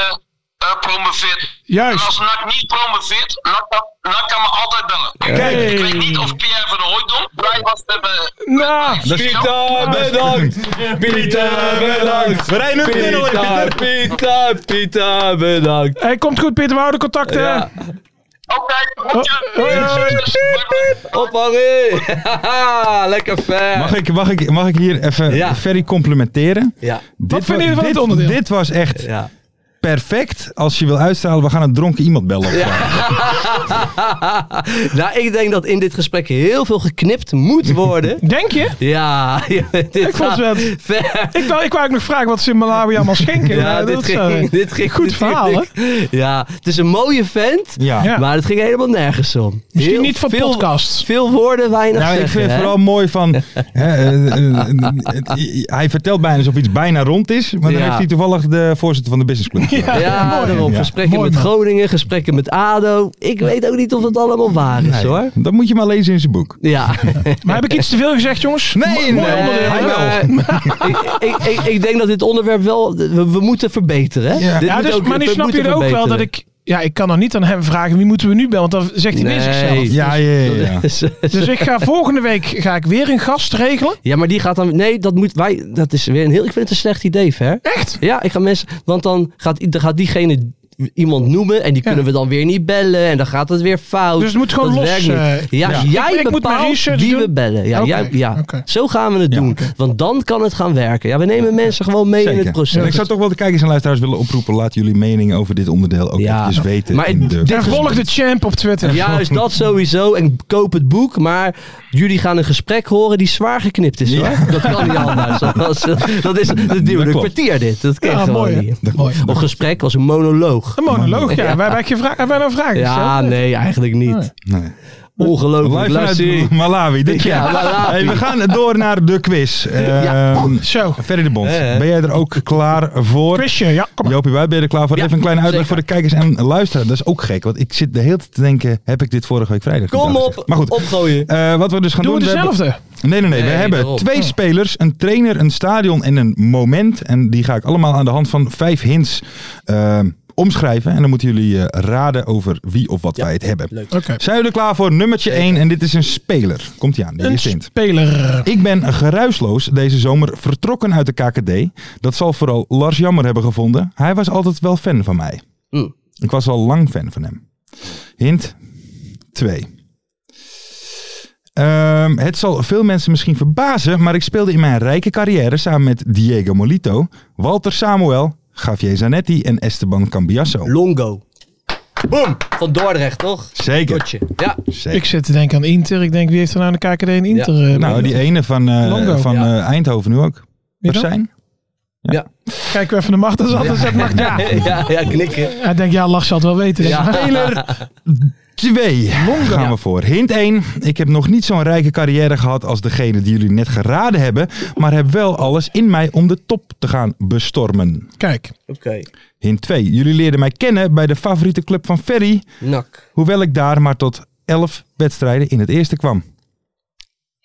S7: eh, promoveert. En
S6: Juist.
S7: als NAC niet promoveert, NAC, kan- NAC kan me altijd bellen.
S6: Kijk.
S7: Ik weet niet of Pierre van der Hooydonk blij was te hebben.
S6: Nou,
S5: Pieter, bedankt. Pieter, bedankt.
S4: We rijden een tunnel in,
S5: Pieter,
S4: Pieter.
S5: Pieter, Pieter, bedankt.
S6: hey, komt goed, Pieter. We houden contacten.
S5: Ja,
S7: Oké,
S6: Oh,
S7: goed, ja.
S6: Hoi, hoi.
S7: Succes. Bye, bye.
S5: op Harry. Haha, [LAUGHS] Lekker ver.
S4: Mag ik, mag, ik, mag ik hier even
S5: Ja.
S4: Ferry complimenteren?
S5: Ja,
S4: Dit
S6: vinden
S4: wa-
S6: jullie van
S4: dit-
S6: het onderdeel?
S4: Dit was echt
S5: ja.
S4: perfect als je wil uitstralen. We gaan een dronken iemand bellen. op vraag.
S5: nou, ik denk dat in dit gesprek heel veel geknipt moet worden.
S6: Denk je?
S5: Ja, [LAUGHS] ja, dit
S6: Ik vond het wel-
S5: ver.
S6: Ik wou, ik wou ook nog vragen wat ze in Malawi allemaal schenken.
S5: [LAUGHS] Ja,
S6: maar
S5: dit,
S6: dat,
S5: ging,
S6: eh,
S5: dit ging
S6: Goed verhaal, hè?
S5: natuurlijk- Ja, het is een mooie vent,
S4: Ja.
S6: Ja.
S5: maar het ging helemaal nergens om.
S6: Misschien
S5: Heel
S6: niet van
S5: veel,
S6: podcasts.
S5: Veel woorden, weinig
S4: Nou, ik
S5: zeggen,
S4: vind het
S5: hè?
S4: vooral mooi
S5: [LAUGHS]
S4: van. Hè, eh, eh, eh, eh, hij vertelt bijna alsof iets bijna rond is. Maar dan
S5: Ja.
S4: heeft hij toevallig de voorzitter van de businessclub.
S5: Ja, daarom.
S4: Ja.
S5: Gesprekken
S6: Mooi,
S5: met
S6: man.
S5: Groningen, gesprekken met ADO. Ik weet ook niet of het allemaal waar is, hoor.
S4: Dat moet je maar lezen in zijn boek. [LAUGHS]
S5: Ja.
S6: Maar heb ik iets te veel gezegd, jongens?
S4: Nee,
S6: Mooi
S4: nee.
S6: onderwerp.
S4: Hij wel.
S5: maar- ik, ik, ik, ik denk dat dit onderwerp wel... We, we moeten verbeteren. hè?
S4: Ja.
S5: Dit
S6: Ja,
S5: moet
S6: dus,
S5: ook-
S6: maar nu
S5: we
S6: snap je
S5: moeten
S6: ook wel dat
S5: verbeteren.
S6: ik... Ja, ik kan dan niet aan hem vragen wie moeten we nu bellen, want dan zegt hij weer zichzelf.
S5: [LAUGHS]
S4: Ja, ja, ja. ja.
S6: Dus ik ga volgende week ga ik weer een gast regelen.
S5: Ja, maar die gaat dan... Nee, dat moet... Wij, dat is weer een heel... Ik vind het een slecht idee, Ver.
S6: Echt?
S5: Ja, ik ga mensen... Want dan gaat, dan gaat diegene iemand noemen en die
S6: Ja.
S5: kunnen we dan weer niet bellen en dan gaat het weer fout.
S6: Dus het moet gewoon
S5: Dat
S6: los,
S5: werkt niet.
S6: eh,
S5: ja,
S6: ja.
S5: jij
S6: Ik- ik moet mijn
S5: bepaalt
S6: research
S5: wie we
S6: doen.
S5: bellen. Ja,
S6: Oké,
S5: jij, ja.
S6: oké.
S5: zo gaan we het doen. Want dan kan het gaan werken. Ja, we nemen mensen gewoon mee in
S4: Zeker.
S5: het proces.
S4: En ik zou toch wel de kijkers en luisteraars willen oproepen. Laat jullie mening over dit onderdeel ook
S5: Ja.
S4: eventjes weten.
S5: Maar
S4: in de...
S6: En volg de champ op Twitter.
S5: Juist
S6: [LAUGHS]
S5: dat sowieso. En koop het boek. Maar jullie gaan een gesprek horen die zwaar geknipt is. Hoor. Dat kan niet
S4: [LAUGHS]
S5: anders. Dat is- Dat is het duurde een
S4: klopt.
S5: kwartier dit. Dat kan
S6: Ja,
S5: gewoon
S6: mooi, hè?
S5: niet.
S6: Mooi.
S5: Of gesprek was een monoloog.
S6: Een monoloog, ja. Wij hebben geen vragen. Hebben wij nou vragen
S5: Ja,
S6: gesteld?
S5: nee, eigenlijk niet.
S4: Nee.
S5: Ongelooflijk. Laat
S4: Live vanuit
S5: zien.
S4: Malawi.
S5: [LAUGHS]
S4: Dit
S5: Ja,
S4: jaar.
S5: Malawi.
S4: Hey, we gaan door naar de quiz.
S5: [LAUGHS] Ja.
S4: Ehm,
S6: Zo.
S4: Ferry de Bond,
S5: Eh, eh.
S4: ben jij er ook klaar voor?
S6: Quizje, ja, kom maar.
S4: Jopie, wij ben je er klaar voor?
S5: Ja,
S4: Even een kleine uitleg
S5: zeker.
S4: voor de kijkers en luisteraars. Dat is ook gek, want ik zit de hele tijd te denken, heb ik dit vorige week vrijdag
S5: Kom
S4: gedaan?
S5: op.
S4: Maar goed,
S5: Opgooien.
S4: eh, wat we dus gaan
S6: Doen
S4: doen...
S6: we
S4: hebben-
S6: dezelfde?
S4: Nee, nee, nee. we
S5: Nee,
S4: hebben
S5: daarom. Oh.
S4: twee spelers, een trainer, een stadion en een moment. En die ga ik allemaal aan de hand van vijf hints eh, omschrijven. En dan moeten jullie eh, raden over wie of wat wij het hebben.
S6: Oké.
S4: Zijn jullie er klaar voor nummertje 1? En dit is een speler. Komt ie aan, die
S6: Een
S4: is hint.
S6: speler.
S4: Ik ben geruisloos deze zomer vertrokken uit de KKD. Dat zal vooral Lars Jammer hebben gevonden. Hij was altijd wel fan van mij.
S5: Mm.
S4: Ik was al lang fan van hem. Hint 2. Ehm, het zal veel mensen misschien verbazen, maar ik speelde in mijn rijke carrière samen met Diego Molito, Walter Samuel, Javier Zanetti en Esteban Cambiasso.
S5: Longo. Boom. Van Dordrecht, toch?
S4: Zeker.
S5: Dotje. Ja. [LAUGHS]
S4: Zeker.
S6: Ik zit te denken aan Inter. Ik denk, wie heeft er nou een KKD en Inter? eh,
S4: Nou, die ene van, eh,
S6: Longo.
S4: van
S5: Ja.
S4: eh, Eindhoven nu ook.
S6: Wie dan?
S4: zijn?
S6: Kijken we even naar Martens aan. Dus dat mag ja.
S5: Ja, ja, knikken.
S6: Hij denkt, ja, Lars zal het wel weten.
S5: Ja. [LAUGHS]
S6: Speler.
S4: 2. Gaan we voor. Hint 1. Ik heb nog niet zo'n rijke carrière gehad als degene die jullie net geraden hebben. Maar heb wel alles in mij om de top te gaan bestormen.
S6: Kijk.
S5: Oké.
S4: Hint 2. Jullie leerden mij kennen bij de favoriete club van Ferry.
S5: Nak.
S4: Hoewel ik daar maar tot 11 wedstrijden in het eerste kwam.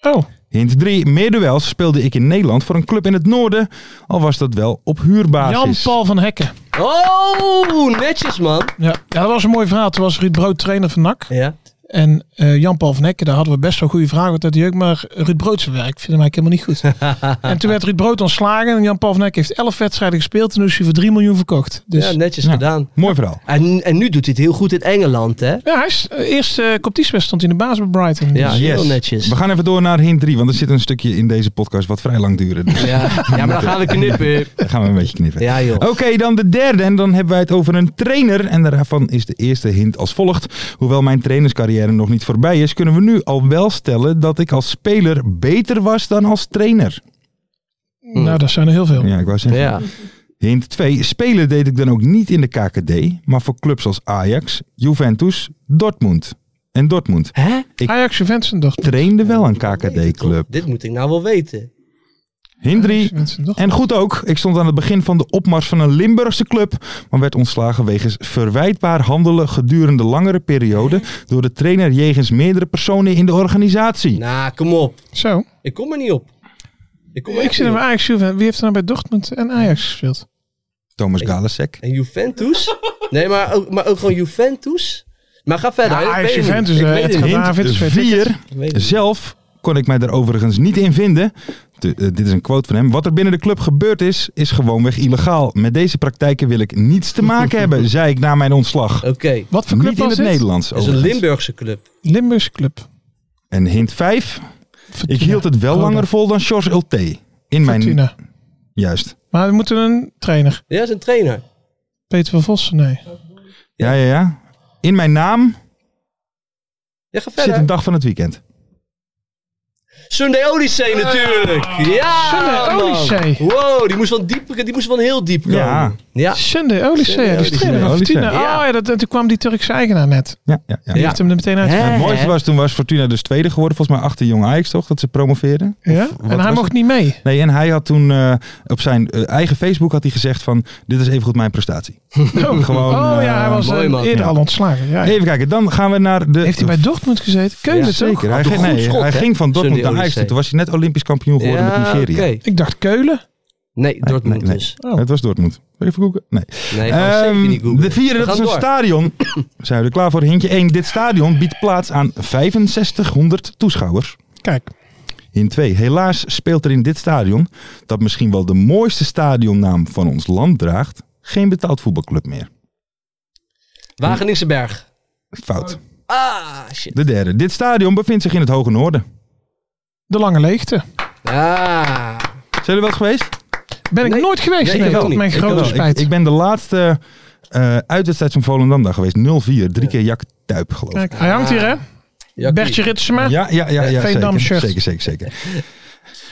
S6: Oh,
S4: Hint 3. Meer duels speelde ik in Nederland voor een club in het noorden. Al was dat wel op huurbasis.
S6: Jan-Paul van Hekken.
S5: Oh, netjes man.
S6: Ja. ja, dat was een mooi verhaal. Toen was Ruud Brood trainer van NAC.
S5: Ja.
S6: En eh, Jan-Paul van Hekken, daar hadden we best wel goede vragen uit de jeugd. Maar Ruud Brood zijn werk vind hem eigenlijk helemaal niet goed.
S5: [LAUGHS]
S6: en toen werd Ruud Brood ontslagen. En Jan-Paul van Hekken heeft 11 wedstrijden gespeeld. En nu is hij voor 3 miljoen verkocht. Dus
S5: Ja,
S6: ja,
S5: netjes gedaan.
S4: Mooi verhaal.
S5: En, en nu doet hij het heel goed in Engeland, hè?
S6: hij is, eh, eerst eh competitiewedstrijd stond hij in de baas bij Brighton.
S5: Ja,
S6: Dus-
S5: heel netjes.
S4: We gaan even door naar hint 3. Want er zit een stukje in deze podcast wat vrij lang duurde. Dus
S5: Ja, [LAUGHS] ja maar dan gaan we knippen.
S4: daar gaan we een beetje knippen.
S5: Ja, joh.
S4: Oké, dan de derde. En dan hebben wij het over een trainer. En daarvan is de eerste hint als volgt. Hoewel mijn trainerscarrière nog niet voorbij is, kunnen we nu al wel stellen dat ik als speler beter was dan als trainer.
S6: Nou, dat zijn er heel veel.
S4: Ja, ik wou zeggen.
S5: Oh. Ja.
S4: Hint 2. Spelen deed ik dan ook niet in de KKD, maar voor clubs als Ajax, Juventus, Dortmund. En Dortmund
S5: Hè?
S4: Ik-
S6: Ajax, Juventus en dochter.
S4: trainde wel een KKD-club.
S5: Dit moet ik nou wel weten.
S4: Hint 3.
S6: Juventus en dochter.
S4: En goed ook, ik stond aan het begin van de opmars van een Limburgse club, maar werd ontslagen wegens verwijtbaar handelen gedurende langere periode door de trainer jegens meerdere personen in de organisatie.
S5: Nou, kom op.
S6: Zo.
S5: Ik kom er niet op. Ik kom er
S6: Ik
S5: echt
S6: zit
S5: niet
S6: in
S5: op.
S6: Ajax, Juventus. Wie heeft er nou bij Dortmund en Ajax gespeeld?
S4: Thomas Galasek.
S5: En Juventus? Nee, maar ook, maar ook gewoon Juventus? Maar ga verder.
S6: Ja,
S5: ik
S6: Ajax,
S5: weet het niet.
S6: Juventus,
S5: Ik
S6: eh,
S5: weet
S6: het
S5: het niet.
S6: gaat-
S4: Hint
S6: David, weet ik
S4: 4.
S5: Ik weet het niet.
S4: Zelf kon ik mij daar overigens niet in vinden. De- eh, dit is een quote van hem. Wat er binnen de club gebeurd is, is gewoonweg illegaal. Met deze praktijken wil ik niets te maken [LAUGHS] hebben, zei ik na mijn ontslag.
S5: Oké.
S6: Wat voor club
S4: Niet in
S6: was
S4: Eh, het
S6: dit?
S4: Nederlands.
S5: Dat is een
S4: overigens.
S5: Limburgse club.
S6: Limburgse club.
S4: En hint 5.
S6: Fortuna.
S4: Ik hield het wel
S6: Roda.
S4: langer vol dan George Ulte. In mijn...
S6: Fortuna.
S4: Juist.
S6: Maar we moeten een trainer.
S5: Ja, dat is een trainer.
S6: Peter van Vossen, nee.
S4: Ja, ja, ja. In mijn naam
S5: Ja, ga
S4: zit een
S5: verder.
S4: dag van het weekend.
S5: Sunday Odyssey natuurlijk. Ja,
S6: Sunday
S5: man.
S6: Odyssey.
S5: Wow, die moest van diep, die moest van heel diep komen.
S4: Ja.
S5: Ja.
S6: Sunday Olyssee,
S5: Sunday
S6: die is
S4: Odyssee.
S6: trainer van Fortuna.
S5: Ja.
S6: Oh ja, dat, en toen kwam die Turkse eigenaar net.
S4: Ja, ja, ja.
S6: Die heeft hem er meteen uit.
S5: Hè?
S4: Het mooiste was, toen was Fortuna dus tweede geworden. Volgens mij achter Jong Ajax toch, dat ze promoveerden.
S6: Ja?
S4: wat
S6: En
S4: was
S6: hij mocht
S4: het?
S6: niet mee.
S4: Nee, en hij had toen eh, op zijn eh, eigen Facebook had hij gezegd van... Dit is even goed mijn prestatie.
S6: Oh,
S4: [LAUGHS] Gewoon,
S6: oh ja, hij
S4: eh,
S6: was eh,
S5: mooi, man.
S6: eerder
S4: Ja.
S6: al ontslagen. Ja,
S4: Even kijken, dan gaan we naar de...
S6: Heeft hij bij Dortmund gezeten? Keuze
S4: Ja,
S6: toch?
S4: zeker. Hij,
S5: Had een
S4: ging,
S5: goed
S4: nee,
S5: schot,
S4: hij
S5: hè?
S4: ging van Dortmund
S5: Sunday
S4: naar Ajax.
S5: Odyssey.
S4: toe. Toen was hij net Olympisch kampioen geworden
S5: Ja,
S4: met Nigeria.
S5: oké.
S4: Nee,
S6: Ik dacht Keulen.
S5: Nee, Dortmund
S4: nee, nee.
S5: dus.
S6: Oh.
S4: Het was Dortmund. Even googlen. Nee.
S5: Nee, gaan we
S4: Ehm,
S5: zeker niet googlen.
S4: de vierde,
S5: We
S4: dat is
S5: gaan
S4: een
S5: door.
S4: stadion. [COUGHS] Zijn we er klaar voor? Hintje 1. Dit stadion biedt plaats aan 6500 toeschouwers.
S6: Kijk,
S4: In 2. Helaas speelt er in dit stadion, dat misschien wel de mooiste stadionnaam van ons land draagt, geen betaald voetbalclub meer.
S5: Wageningse Berg.
S4: Fout.
S5: Ah, shit.
S4: De derde. Dit stadion bevindt zich in het Hoge Noorden.
S6: de lange leegte.
S5: Ah.
S4: Zijn jullie wel eens geweest? Nou,
S6: Ben ik
S5: Nee.
S6: nooit geweest,
S5: Nee,
S6: nee,
S5: ik ook
S6: tot
S5: niet.
S6: mijn
S5: Ik
S6: grote
S5: ook niet.
S6: spijt.
S4: Ik, ik ben de laatste eh uitwedstrijd van Volendam daar geweest. 0-4. Drie keer Jack Tuip, geloof ik.
S6: Kijk, hij hangt hier, hè?
S5: Jakkie.
S6: Bertje Ritsema.
S4: Ja, ja, ja, ja
S6: Eh, Veendam
S4: zeker,
S6: shirt.
S4: zeker, zeker, zeker.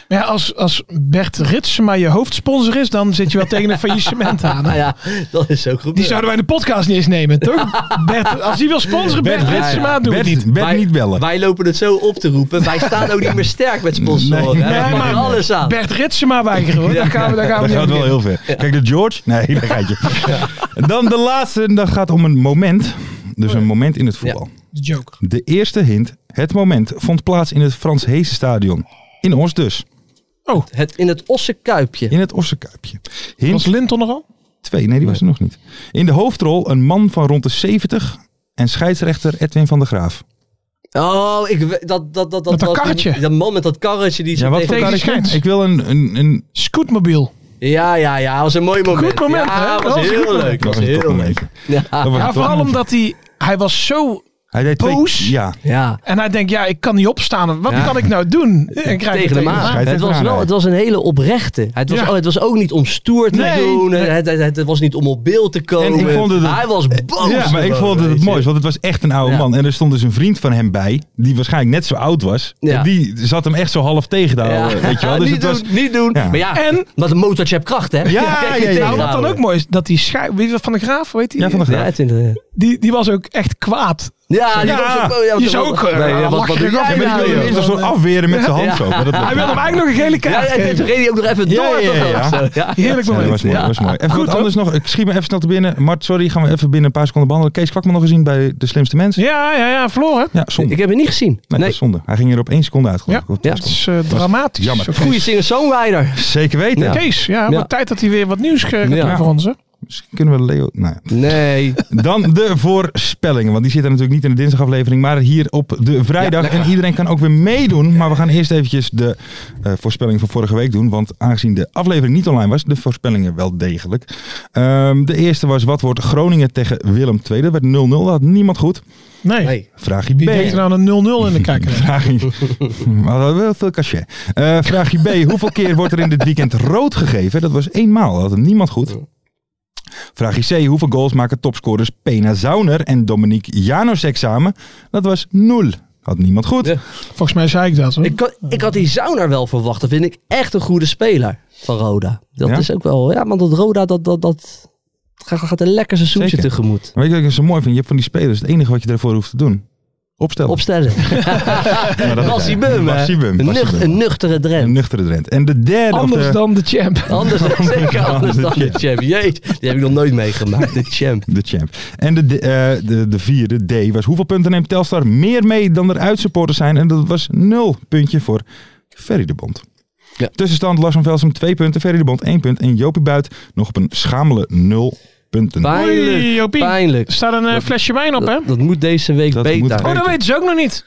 S6: Maar ja, als, als Bert Ritsema je hoofdsponsor is, dan zit je wel tegen een faillissement aan. hè?
S5: Ah [LAUGHS] ja, dat is ook goed.
S6: Die zouden wij in de podcast niet eens nemen, toch? Bert, als hij wil sponsoren, Bert,
S4: Bert
S6: Ritsema,
S5: ja.
S6: doe
S4: Bert,
S6: het niet.
S4: Bert niet bellen.
S5: Wij lopen het zo op te roepen. Wij staan ook niet meer sterk met sponsoren.
S4: Nee,
S5: Nee,
S4: nee,
S5: maar
S6: maar-
S5: alles aan.
S6: Bert Ritsema weigeren, hoor. Daar gaan we, daar gaan we
S4: Dat
S6: niet
S4: gaat
S6: aan
S4: wel heel ver. Kijk, de George? Nee, daar gaat
S6: [LAUGHS]
S4: je. Dan de laatste. en Dat gaat om een moment.
S6: Oh
S4: Dus een moment in het voetbal.
S6: beginnen. Joke.
S4: De eerste hint. Het moment vond plaats in het Frans Heese stadion. In Os dus.
S5: Het, in het osse kuipje.
S4: In het Ossenkuipje.
S6: Was
S4: Hint
S6: Linton er al?
S4: 2. Nee, die was er nog niet. In de hoofdrol een man van rond de 70 en scheidsrechter Edwin van der Graaf.
S5: Oh, ik, we- dat, dat, dat, dat,
S6: Met dat
S5: was die-
S6: karretje.
S5: dat man met dat karretje die
S4: Ja,
S5: zo
S4: wat voor
S5: tegen...
S6: die
S4: karretje?
S6: scheids.
S4: Ik wil een... een, een
S6: Scootmobiel.
S5: Ja, ja, ja. Dat was een mooi moment.
S6: Goed moment,
S5: ja,
S6: hè?
S5: was
S6: Dat was
S5: heel
S6: goed
S5: leuk.
S6: moment.
S5: Dat was
S4: een
S5: heel leuk.
S4: topmoment. Dat
S5: Ja.
S4: was
S6: Ja,
S4: een
S6: vooral
S4: topmoment.
S6: omdat hij... Hij was zo...
S4: Hij deed twee...
S6: boos.
S4: Ja.
S5: ja.
S6: En hij denkt, ja, ik kan niet opstaan. Wat
S5: Ja.
S6: kan ik nou
S5: [LAUGHS]
S6: doen? En krijg
S5: Tegen hem aan.
S4: Scheidsrechter
S5: Het was, wel,
S4: aanrijden.
S5: het was een hele oprechte. Het was,
S6: Ja.
S5: oh, het was ook niet om stoer te
S6: Nee.
S5: doen.
S6: Nee.
S5: Het, het, het was niet om op beeld te komen.
S4: ik vond het-
S5: Hij was boos.
S4: Ja, maar ik
S5: gewoon,
S4: vond het
S5: weet
S4: het
S5: je.
S4: mooist, want het was echt een oude
S5: Ja.
S4: man. En er stond dus een vriend van hem bij, die waarschijnlijk net zo oud was.
S5: Ja.
S4: En die zat hem echt zo half tegen te
S5: Ja.
S4: houden, weet je wel.
S5: [LAUGHS]
S4: Dus
S5: niet,
S4: het
S5: doen,
S4: was...
S5: niet doen.
S4: Ja.
S5: Maar ja,
S6: En-
S5: wat een motortje hebt kracht, hè?
S4: Ja, ja, ja, ja.
S6: Nou, wat dan ook mooi is, dat die schij... Weet je wat, Van de Graaf, weet je?
S4: Ja, van de
S5: Ja,
S4: graaf.
S5: het vindt- eh,
S6: Die, die was ook echt kwaad.
S5: ja, die
S4: Ja.
S5: was ook- oh, ja,
S6: Die
S5: toch
S6: zou ook...
S5: wel-
S6: eh,
S5: Nee, ja, wat, wat doe
S6: lacherig
S5: jij
S4: Ja, maar
S5: nou,
S4: die wilde
S5: joh?
S4: hem eerst een soort afweren met zijn hand zo. Maar dat
S6: Hij
S4: lukte.
S6: wilde hem eigenlijk nog een gele
S5: Ja,
S6: kaart
S5: ja, en toen
S6: geven.
S5: reed hij ook nog even
S4: Ja,
S5: door.
S4: ja,
S5: toch?
S4: ja.
S5: Zo, ja.
S6: Heerlijk
S4: Ja, dat
S6: moment.
S4: was mooi,
S5: Ja.
S4: dat was mooi. Even
S6: Goed,
S4: wat anders nog. Ik schiet me even snel te binnen. Mart, sorry, gaan we even binnen een paar seconden behandelen. Kees Kwakman nog gezien bij De Slimste Mensen.
S6: Ja, ja, ja, verloren.
S4: Ja, zonde.
S5: Ik heb het niet gezien.
S4: Nee, dat
S5: Nee,
S4: is zonde. Hij ging er op één seconde uit, geloof ik.
S6: Ja.
S4: Op één
S5: Ja.
S6: Het
S4: seconde.
S6: is eh, dramatisch.
S4: jammer.
S6: Zo-
S5: goede singer-songwriter.
S4: Zeker weten.
S5: Ja.
S6: Kees, ja,
S5: Ja.
S6: wordt tijd dat hij weer wat nieuws krijgt
S5: Ja.
S6: voor ons. hè?
S4: Misschien kunnen we Leo... Nou, ja.
S5: Nee.
S4: Dan de voorspellingen. Want die zitten natuurlijk niet in de dinsdagaflevering, maar hier op de vrijdag. en iedereen kan ook weer meedoen. Maar we gaan eerst eventjes de eh, voorspelling van vorige week doen. Want aangezien de aflevering niet online was, de voorspellingen wel degelijk. Ehm, de eerste was, wat wordt Groningen tegen Willem II? Dat werd 0-0, dat had niemand goed.
S6: Nee.
S5: Nee.
S4: Vraagje
S6: Wie denkt er nou
S4: B.
S6: aan een 0-0 in de kijker?
S4: Vraagje... We hadden wel veel cachet. Eh, vraagje B. Hoeveel keer wordt er in dit weekend rood gegeven? Dat was eenmaal, dat had niemand goed. Vraagje C. Hoeveel goals maken topscorers Pena Zauner en Dominique Janosek samen? Dat was 0. Had niemand goed.
S5: Ja.
S6: Volgens mij zei ik dat. Hoor.
S5: Ik, kan- ik had die Zauner wel verwacht. Dat vind ik echt een goede speler van Roda. Dat
S4: Ja?
S5: is ook wel... Ja, want dat Roda dat, dat, dat gaat, gaat een lekker seizoentje
S4: Zeker.
S5: tegemoet.
S4: Weet je wat ik zo mooi vind? Je hebt van die spelers het enige wat je daarvoor hoeft te doen. Opstellen. [LAUGHS]
S5: Opstellen.
S4: Maar dat is-
S5: Rassie Bum, hè?
S4: Rassie Bum,
S5: Een,
S4: Rassie
S5: nucht-
S4: Bum.
S5: een nuchtere
S4: Een
S5: Drent.
S4: nuchtere Drent. En de derde... of
S6: Anders
S4: de-
S6: dan de champ.
S5: Anders, zeker anders dan
S4: Ja.
S5: de champ. Jeet, die heb ik nog nooit meegemaakt, de champ.
S4: De champ. En de, de, eh, de, de vierde, D, was hoeveel punten neemt Telstar meer mee dan er uitsupporters zijn? En dat was nul puntje voor Ferry de Bond.
S5: Ja.
S4: Tussenstand Lars van Velsen 2 punten, Ferry de Bond 1 punt en Jopie Buit nog op een schamele 0 punten.
S5: Pijnlijk,
S6: Oei, Jopie.
S5: pijnlijk.
S6: Er staat een eh, flesje wijn op, hè?
S5: Dat, dat moet deze week
S4: Dat moet
S5: beter.
S4: beter.
S6: Oh, dat weten ze ook nog niet.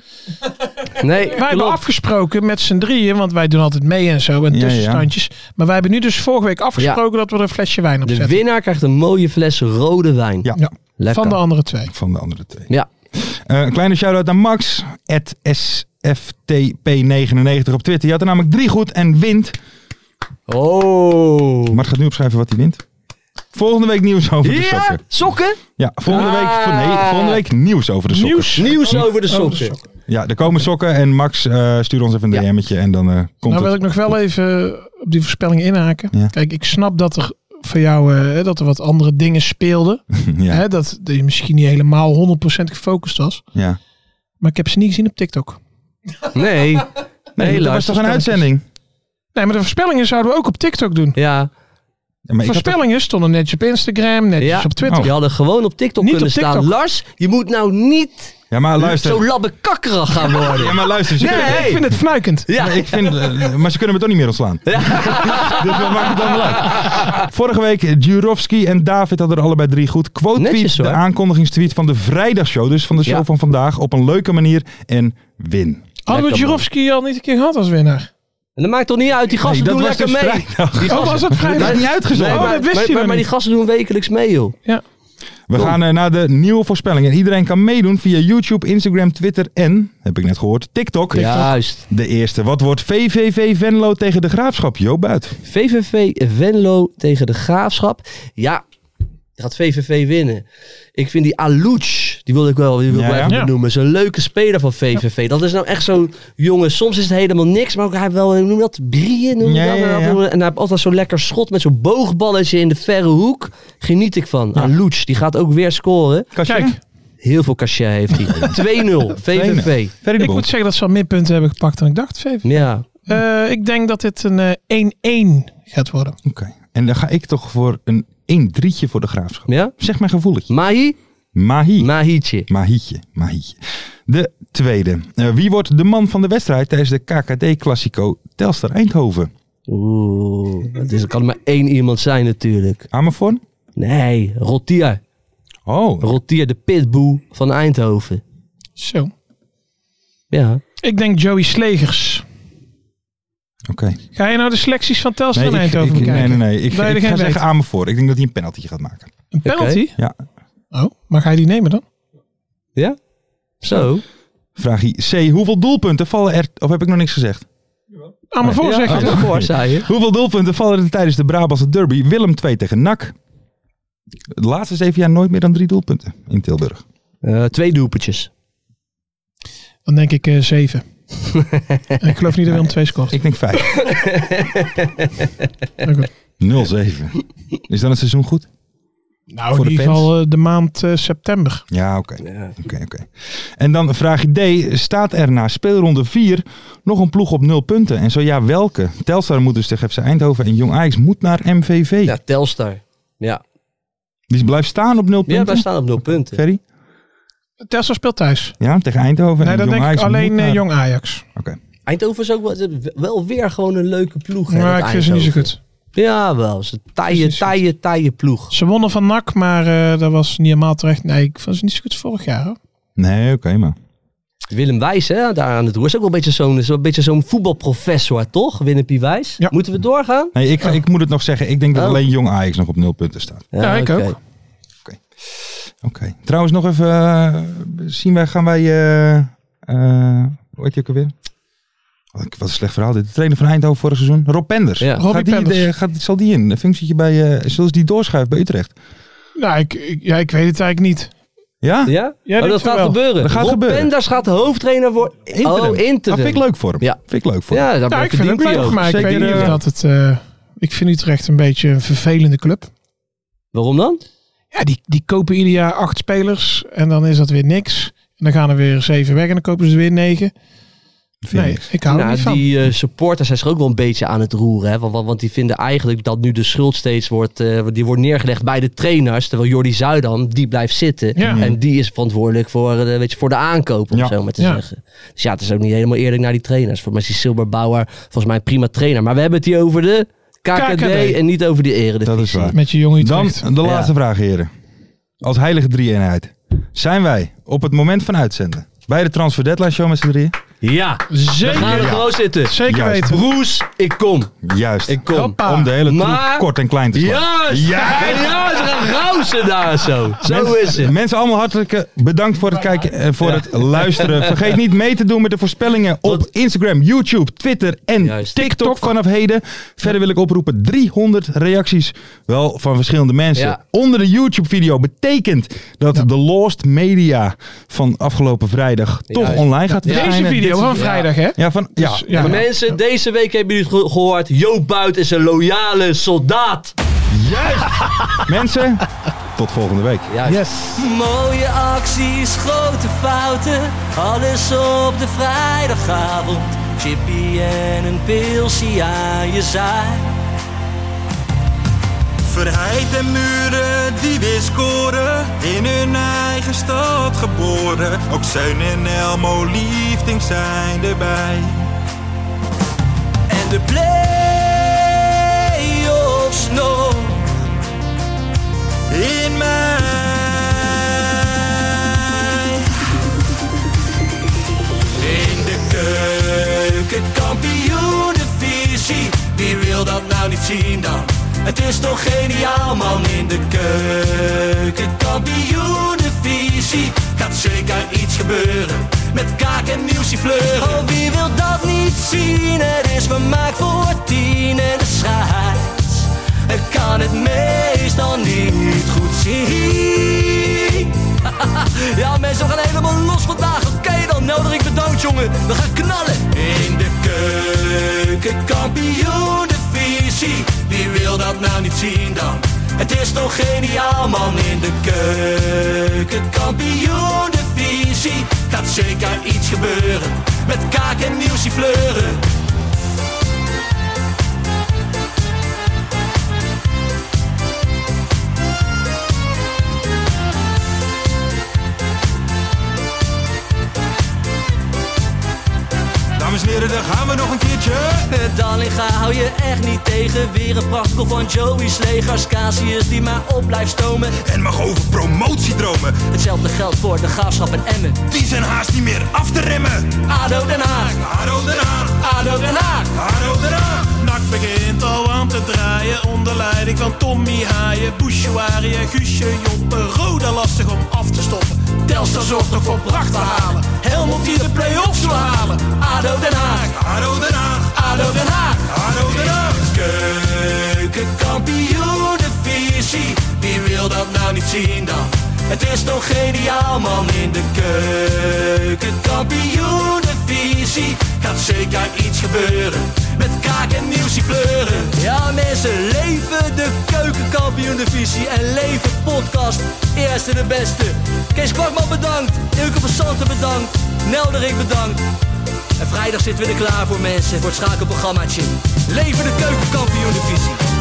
S5: Nee,
S6: Wij hebben
S5: klopt.
S6: afgesproken met z'n drieën, want wij doen altijd mee en zo en
S4: Ja, ja.
S6: tussenstandjes. Maar wij hebben nu dus vorige week afgesproken dat we er een flesje wijn op
S5: De
S6: zetten.
S5: winnaar krijgt een mooie fles rode wijn.
S4: Ja,
S6: Ja.
S5: Lekker.
S6: Van de andere twee.
S4: van de andere twee.
S5: Ja.
S4: Eh, een kleine shout-out naar Max, at SFTP99 op Twitter. Je had er namelijk drie goed en wint.
S5: Oh.
S4: Mart gaat nu opschrijven wat hij wint. Volgende week nieuws over de
S5: Ja,
S4: sokken.
S5: sokken.
S4: Ja, volgende week, van, nee, volgende week nieuws over de sokken.
S5: Nieuws
S6: Oh, Nou,
S5: over de sokken.
S4: Ja, er komen sokken en Max eh stuur ons even een
S5: Ja.
S4: DM'tje en dan eh, komt
S6: Nou wil ik
S4: het.
S6: nog wel even op die voorspelling inhaken.
S4: Ja.
S6: Kijk, ik snap dat er voor jou eh, hè, dat er wat andere dingen speelden.
S4: [LAUGHS] Ja,
S6: Hè, dat, dat je misschien niet helemaal 100% gefocust was.
S4: ja.
S6: Maar ik heb ze niet gezien op TikTok.
S5: Nee.
S4: Nee, dat was
S5: luister,
S4: toch een uitzending?
S6: Nee, maar de voorspellingen zouden we ook op Tiktok doen.
S5: Ja.
S4: Ja, maar ik had Oh.
S6: voorspellingen stonden netjes op Instagram, netjes
S5: ja.
S6: op Twitter.
S5: Je hadden gewoon op TikTok
S6: Niet op
S5: kunnen staan.
S6: TikTok.
S5: Lars, je moet nou niet
S4: toch- ja, maar luister.
S5: zo labbekakkerig gaan
S4: Ja,
S5: worden.
S4: maar luister. ze kunnen-
S6: Dus Ik vind het fnuikend.
S5: Ja.
S4: Maar ik vind, eh, maar ze kunnen me toch niet meer ontslaan. [LAUGHS] dus wat maakt het dan wel uit? Vorige week, Jurovski en David hadden er allebei drie goed. Quote
S5: Netjes,
S4: tweet, de
S5: hoor.
S4: aankondigingstweet van de vrijdagshow. Dus van de show
S5: Ja.
S4: van vandaag. Op een leuke manier. En win.
S6: Hadden
S5: Lekker,
S6: we
S5: man.
S6: Jurovski al niet een keer gehad als winnaar?
S5: En dat maakt toch niet uit, die gasten
S4: dat
S5: doen
S4: was
S5: lekker
S4: dus
S5: mee.
S4: vrijdag.
S5: Die
S6: Oh, was
S5: gasten-
S6: dat vrijdag?
S4: Niet
S5: Nee,
S4: uitgezonden.
S6: Oh,
S5: maar,
S6: dat wist
S5: maar-
S6: je nog
S5: maar die
S6: niet.
S5: gasten doen wekelijks mee, joh.
S6: Ja.
S4: We gaan eh, naar de nieuwe voorspellingen. Iedereen kan meedoen via YouTube, Instagram, Twitter en, heb ik net gehoord, TikTok.
S5: Juist.
S4: De eerste. Wat wordt VVV Venlo tegen de Graafschap? Jo Buit.
S5: VVV Venlo tegen de Graafschap. Ja, gaat VVV winnen. Ik vind die Alouch, die wil ik wel, die wil ik
S4: Ja,
S5: wel even
S6: ja.
S5: benoemen. Zo'n leuke speler van VVV. Dat is nou echt zo'n jongen. Soms is het helemaal niks, maar ook hij heeft wel, hoe noem je dat, brieën. Noem je
S4: Ja,
S5: dat,
S4: ja, ja.
S5: En hij heeft altijd zo'n lekker schot met zo'n boogballetje in de verre hoek. Geniet ik van. Alouch, die gaat ook weer scoren.
S6: Kijk,
S5: Heel veel cachet heeft [LAUGHS] hij. 2-0, VVV.
S4: Ferry de Hm.
S6: ik
S4: Bond.
S6: moet zeggen dat ze al meer punten hebben gepakt dan ik dacht. Vijf.
S5: Ja,
S6: Eh, ik denk dat dit een eh, 1-1 gaat worden.
S4: Oké. En dan ga ik toch voor een 1-3'tje voor de Graafschap.
S5: ja.
S4: Zeg mijn gevoeletje.
S5: Mahi,
S4: Mahi.
S5: Mahietje.
S4: Mahietje, Mahietje. De tweede. Eh, wie wordt de man van de wedstrijd tijdens de KKD Classico Telstar Eindhoven?
S5: [LAUGHS] Oeh, dat is, er kan maar één iemand zijn natuurlijk.
S4: Amervorn?
S5: Nee, Rotier.
S4: Oh,
S5: Rotier de pitboe van Eindhoven.
S6: Zo.
S5: Ja.
S6: Ik denk Joey Slegers.
S4: oké.
S6: Ga je nou de selecties van Telstra
S4: Nee,
S6: en
S4: ik,
S6: Eindhoven
S4: ik- nee,
S6: bekijken?
S4: nee, nee. Ik,
S6: Ben je
S4: ik
S6: er
S4: ga
S6: geen
S4: zeggen
S6: weet?
S4: Amervoort. Ik denk dat hij een penalty gaat maken.
S6: Een penalty?
S4: Ja.
S6: Oh, maar ga je die nemen dan?
S5: Ja? Zo.
S4: Vraagje C. Hoeveel doelpunten vallen er... Of heb ik nog niks gezegd?
S6: Aan me voor
S5: Ja,
S6: zeg je
S5: aan
S6: toch?
S5: me voor, zei je.
S4: Hoeveel doelpunten vallen er tijdens de Brabantse derby Willem 2 tegen NAC? De laatste zeven jaar nooit meer dan drie doelpunten in Tilburg.
S5: Eh, twee doelpetjes.
S6: Dan denk ik eh
S4: [LAUGHS]
S6: 7. en ik geloof niet dat Willem 2 scoort.
S4: Ik denk vijf.
S6: Maar
S4: 0-7.
S6: goed.
S4: Is dan het seizoen goed?
S6: Nou,
S4: Voor
S6: in
S4: de
S6: ieder
S4: fans.
S6: geval eh, de maand eh, september.
S4: Ja, oké. Oké, oké. En dan vraag D. Staat er na speelronde 4 nog een ploeg op 0 punten? En zo ja, welke? Telstar moet dus tegen FC Eindhoven en Jong Ajax moet naar MVV.
S5: Ja, Telstar. Ja.
S4: Die blijft staan op 0 punten?
S5: Ja, wij staan op nul punten.
S4: Ferry?
S6: Telstra speelt thuis.
S4: Ja, tegen Eindhoven
S6: Nee,
S4: en
S6: dan
S4: Jong
S6: denk ik
S4: Ajax
S6: alleen
S4: moet
S6: eh,
S4: naar-
S6: Jong Ajax.
S4: Oké.
S5: Eindhoven is ook wel, wel weer gewoon een leuke ploeg. hè,
S6: Maar
S5: dat
S6: ik vind ze niet zo
S5: Eindhoven.
S6: goed.
S5: Ja, wel. Ze taaie,
S6: Precies.
S5: taaie, taaie ploeg.
S6: Ze wonnen van NAC, maar eh, dat was niet helemaal terecht. Nee, ik vond ze niet zo goed vorig jaar. Hoor.
S4: Nee, oké, maar...
S5: Willem Wijs, hè, daar aan het roer. Is ook wel een beetje zo'n is wel een beetje zo'n voetbalprofessor, toch? Willem P. Wijs.
S6: Ja.
S5: Moeten we doorgaan?
S4: Nee, ik, ik moet het nog zeggen. Ik denk dat
S5: Oh.
S4: alleen Jong Ajax nog op 0 punten staat.
S6: Ja, ik
S5: oké.
S6: ook.
S4: Oké. Trouwens, nog even... eh, zien wij, gaan wij... eh eh hoe heet je ook alweer? Wat een- Wat een slecht verhaal dit. De trainer van Eindhoven vorig seizoen. Rob Penders.
S5: Ja.
S6: Robbie
S4: gaat die,
S6: Penders.
S4: eh, gaat, zal die in? Een functietje bij... eh zullen ze die doorschuiven bij Utrecht?
S6: Nou, ik, ik- ja, ik weet het eigenlijk niet.
S4: Ja? Ah,
S5: Ja?
S6: Ja,
S5: oh,
S6: denk
S5: dat
S6: ik
S5: gaat
S6: wel.
S5: gebeuren.
S4: Dat gaat
S5: Rob
S4: gebeuren.
S5: Penders gaat hoofdtrainer worden.
S4: Interim.
S5: Oh, interim.
S4: Dat vind ik leuk voor hem.
S5: Ja.
S4: Vind ik leuk voor hem.
S5: Ja, daar
S6: Ja, Nou, ik vind
S5: verdient
S6: het
S5: hij
S6: leuk,
S5: ook.
S6: maar ik
S4: Zeker,
S6: weet niet of
S4: eh,
S6: dat het... eh, ik vind Utrecht een beetje een vervelende club.
S5: Waarom dan?
S6: Ja, die, die kopen ieder jaar acht spelers en dan is dat weer niks. En dan gaan er weer zeven weg en dan kopen ze weer negen.
S4: Vind
S6: nee,
S4: ik.
S6: ik hou er
S5: nou,
S6: niet van.
S5: die eh, supporters zijn zich ook wel een beetje aan het roeren. Hè? Want, want, want die vinden eigenlijk dat nu de schuld steeds wordt, eh, die wordt neergelegd bij de trainers. Terwijl Jordi Zuidam, die blijft zitten.
S6: Ja.
S5: En die is verantwoordelijk voor, eh, de, weet je, voor de aankoop, om
S4: Ja.
S5: zo maar te
S6: Ja.
S5: zeggen. Dus ja, het is ook niet helemaal eerlijk naar die trainers. Voor mij is die Silberbouwer volgens mij een prima trainer. Maar we hebben het hier over de KKD,
S6: KKD.
S5: en niet over de eredivisie.
S4: Dat is waar.
S6: Met je jonge
S4: Dan
S6: Utrecht.
S4: de laatste vraag, heren. Als heilige drie-eenheid. Zijn wij op het moment van uitzenden bij de Transfer Deadline Show met z'n drieën?
S8: Ja, we gaan er
S6: Zeker,
S8: gewoon zitten.
S6: zeker
S4: Juist.
S6: weten.
S8: Broes, ik kom.
S4: Juist.
S8: Ik kom.
S6: Hoppa.
S4: Om de hele troep
S8: Maar-
S4: kort en klein te slaan.
S8: Juist! Ja, ja, ze gaan rausen daar zo. Zo
S4: Mensen-
S8: is het.
S4: Mensen allemaal hartelijk eh, bedankt voor het kijken en voor het luisteren. Vergeet niet mee te doen met de voorspellingen op
S8: Wat-
S4: Instagram, YouTube, Twitter en
S8: Juist.
S4: TikTok vanaf heden. Verder wil ik oproepen 300 reacties, wel van verschillende mensen.
S8: Ja.
S4: Onder de YouTube video betekent dat de Lost Media van afgelopen vrijdag toch
S8: Juist.
S4: online gaat
S6: Deze
S4: verschijnen.
S6: video
S4: Dit-
S6: van vrijdag, hè?
S4: Ja, van, ja.
S6: Dus, ja.
S8: Maar mensen, deze week hebben jullie het ge- gehoord. Joop Buit is een loyale soldaat. [LAUGHS]
S4: Mensen, tot volgende week.
S8: Juist.
S6: Yes.
S5: Mooie acties, grote fouten, alles op de vrijdagavond. Chippy en een pilsie aan je zaai.
S3: Verheid en muren die weer scoren, in hun eigen stad geboren. Ook Zijn en Elmo liefding zijn erbij.
S5: En de play-offs nog
S3: In mij.
S5: in de keuken, kampioenenvisie. Wie wil dat nou niet zien dan? Het is toch geniaal man in de keuken, kampioenenvisie. Gaat zeker iets gebeuren met kaak en nieuwsie fleuren. Oh, wie wil dat niet zien? Het is vermaakt voor tien en de scheids. Ik kan het meestal niet goed zien. Ja, mensen, we gaan helemaal los vandaag. Oké, dan nodig ik bedankt, jongen. We gaan knallen. In de keuken, kampioen, de visie. Wie wil dat nou niet zien dan? Het is toch geniaal, man. In de keuken, kampioen, de visie. Gaat zeker iets gebeuren. Met kaak en nieuwsie fleuren.
S3: Dames en heren, daar gaan we nog een keertje.
S5: Het Dallinga Eh, hou je echt niet tegen. Weer een prachtkel van Joey's legers. Casius die maar op blijft stomen. Eh,
S3: En mag over promotiedromen,
S5: Hetzelfde geldt voor de graafschap en Emmen.
S3: die zijn haast niet meer af te remmen.
S5: ADO Den Haag,
S3: Haro Den Haag,
S5: ADO Den Haag.
S3: Haro Den Haag.
S9: Nak begint al aan te draaien onder leiding van Tommy Haaien, Bouchouari en Guusje Joppen. Roda lastig om af te stoppen. Telstar zorgt nog voor pracht te halen. Helmond die de play-offs wil halen.
S5: ADO Den Haag,
S3: Haro Den Haag,
S5: ADO Den Haag.
S3: Haro Den Haag.
S5: Keukenkampioenenvisie, wie wil dat nou niet zien dan? Het is toch geniaal man in de keukenkampioenenvisie. Gaat zeker iets gebeuren, met kaak en nieuwsie pleuren. Ja mensen, leven de keukenkampioenenvisie en leven podcast. Eerste de beste. Kees Kwakman bedankt, Ilke van Santen bedankt, Nelderik bedankt. En vrijdag zitten we er klaar voor mensen, voor het schakelprogrammaatje. Leven de keukenkampioen divisie.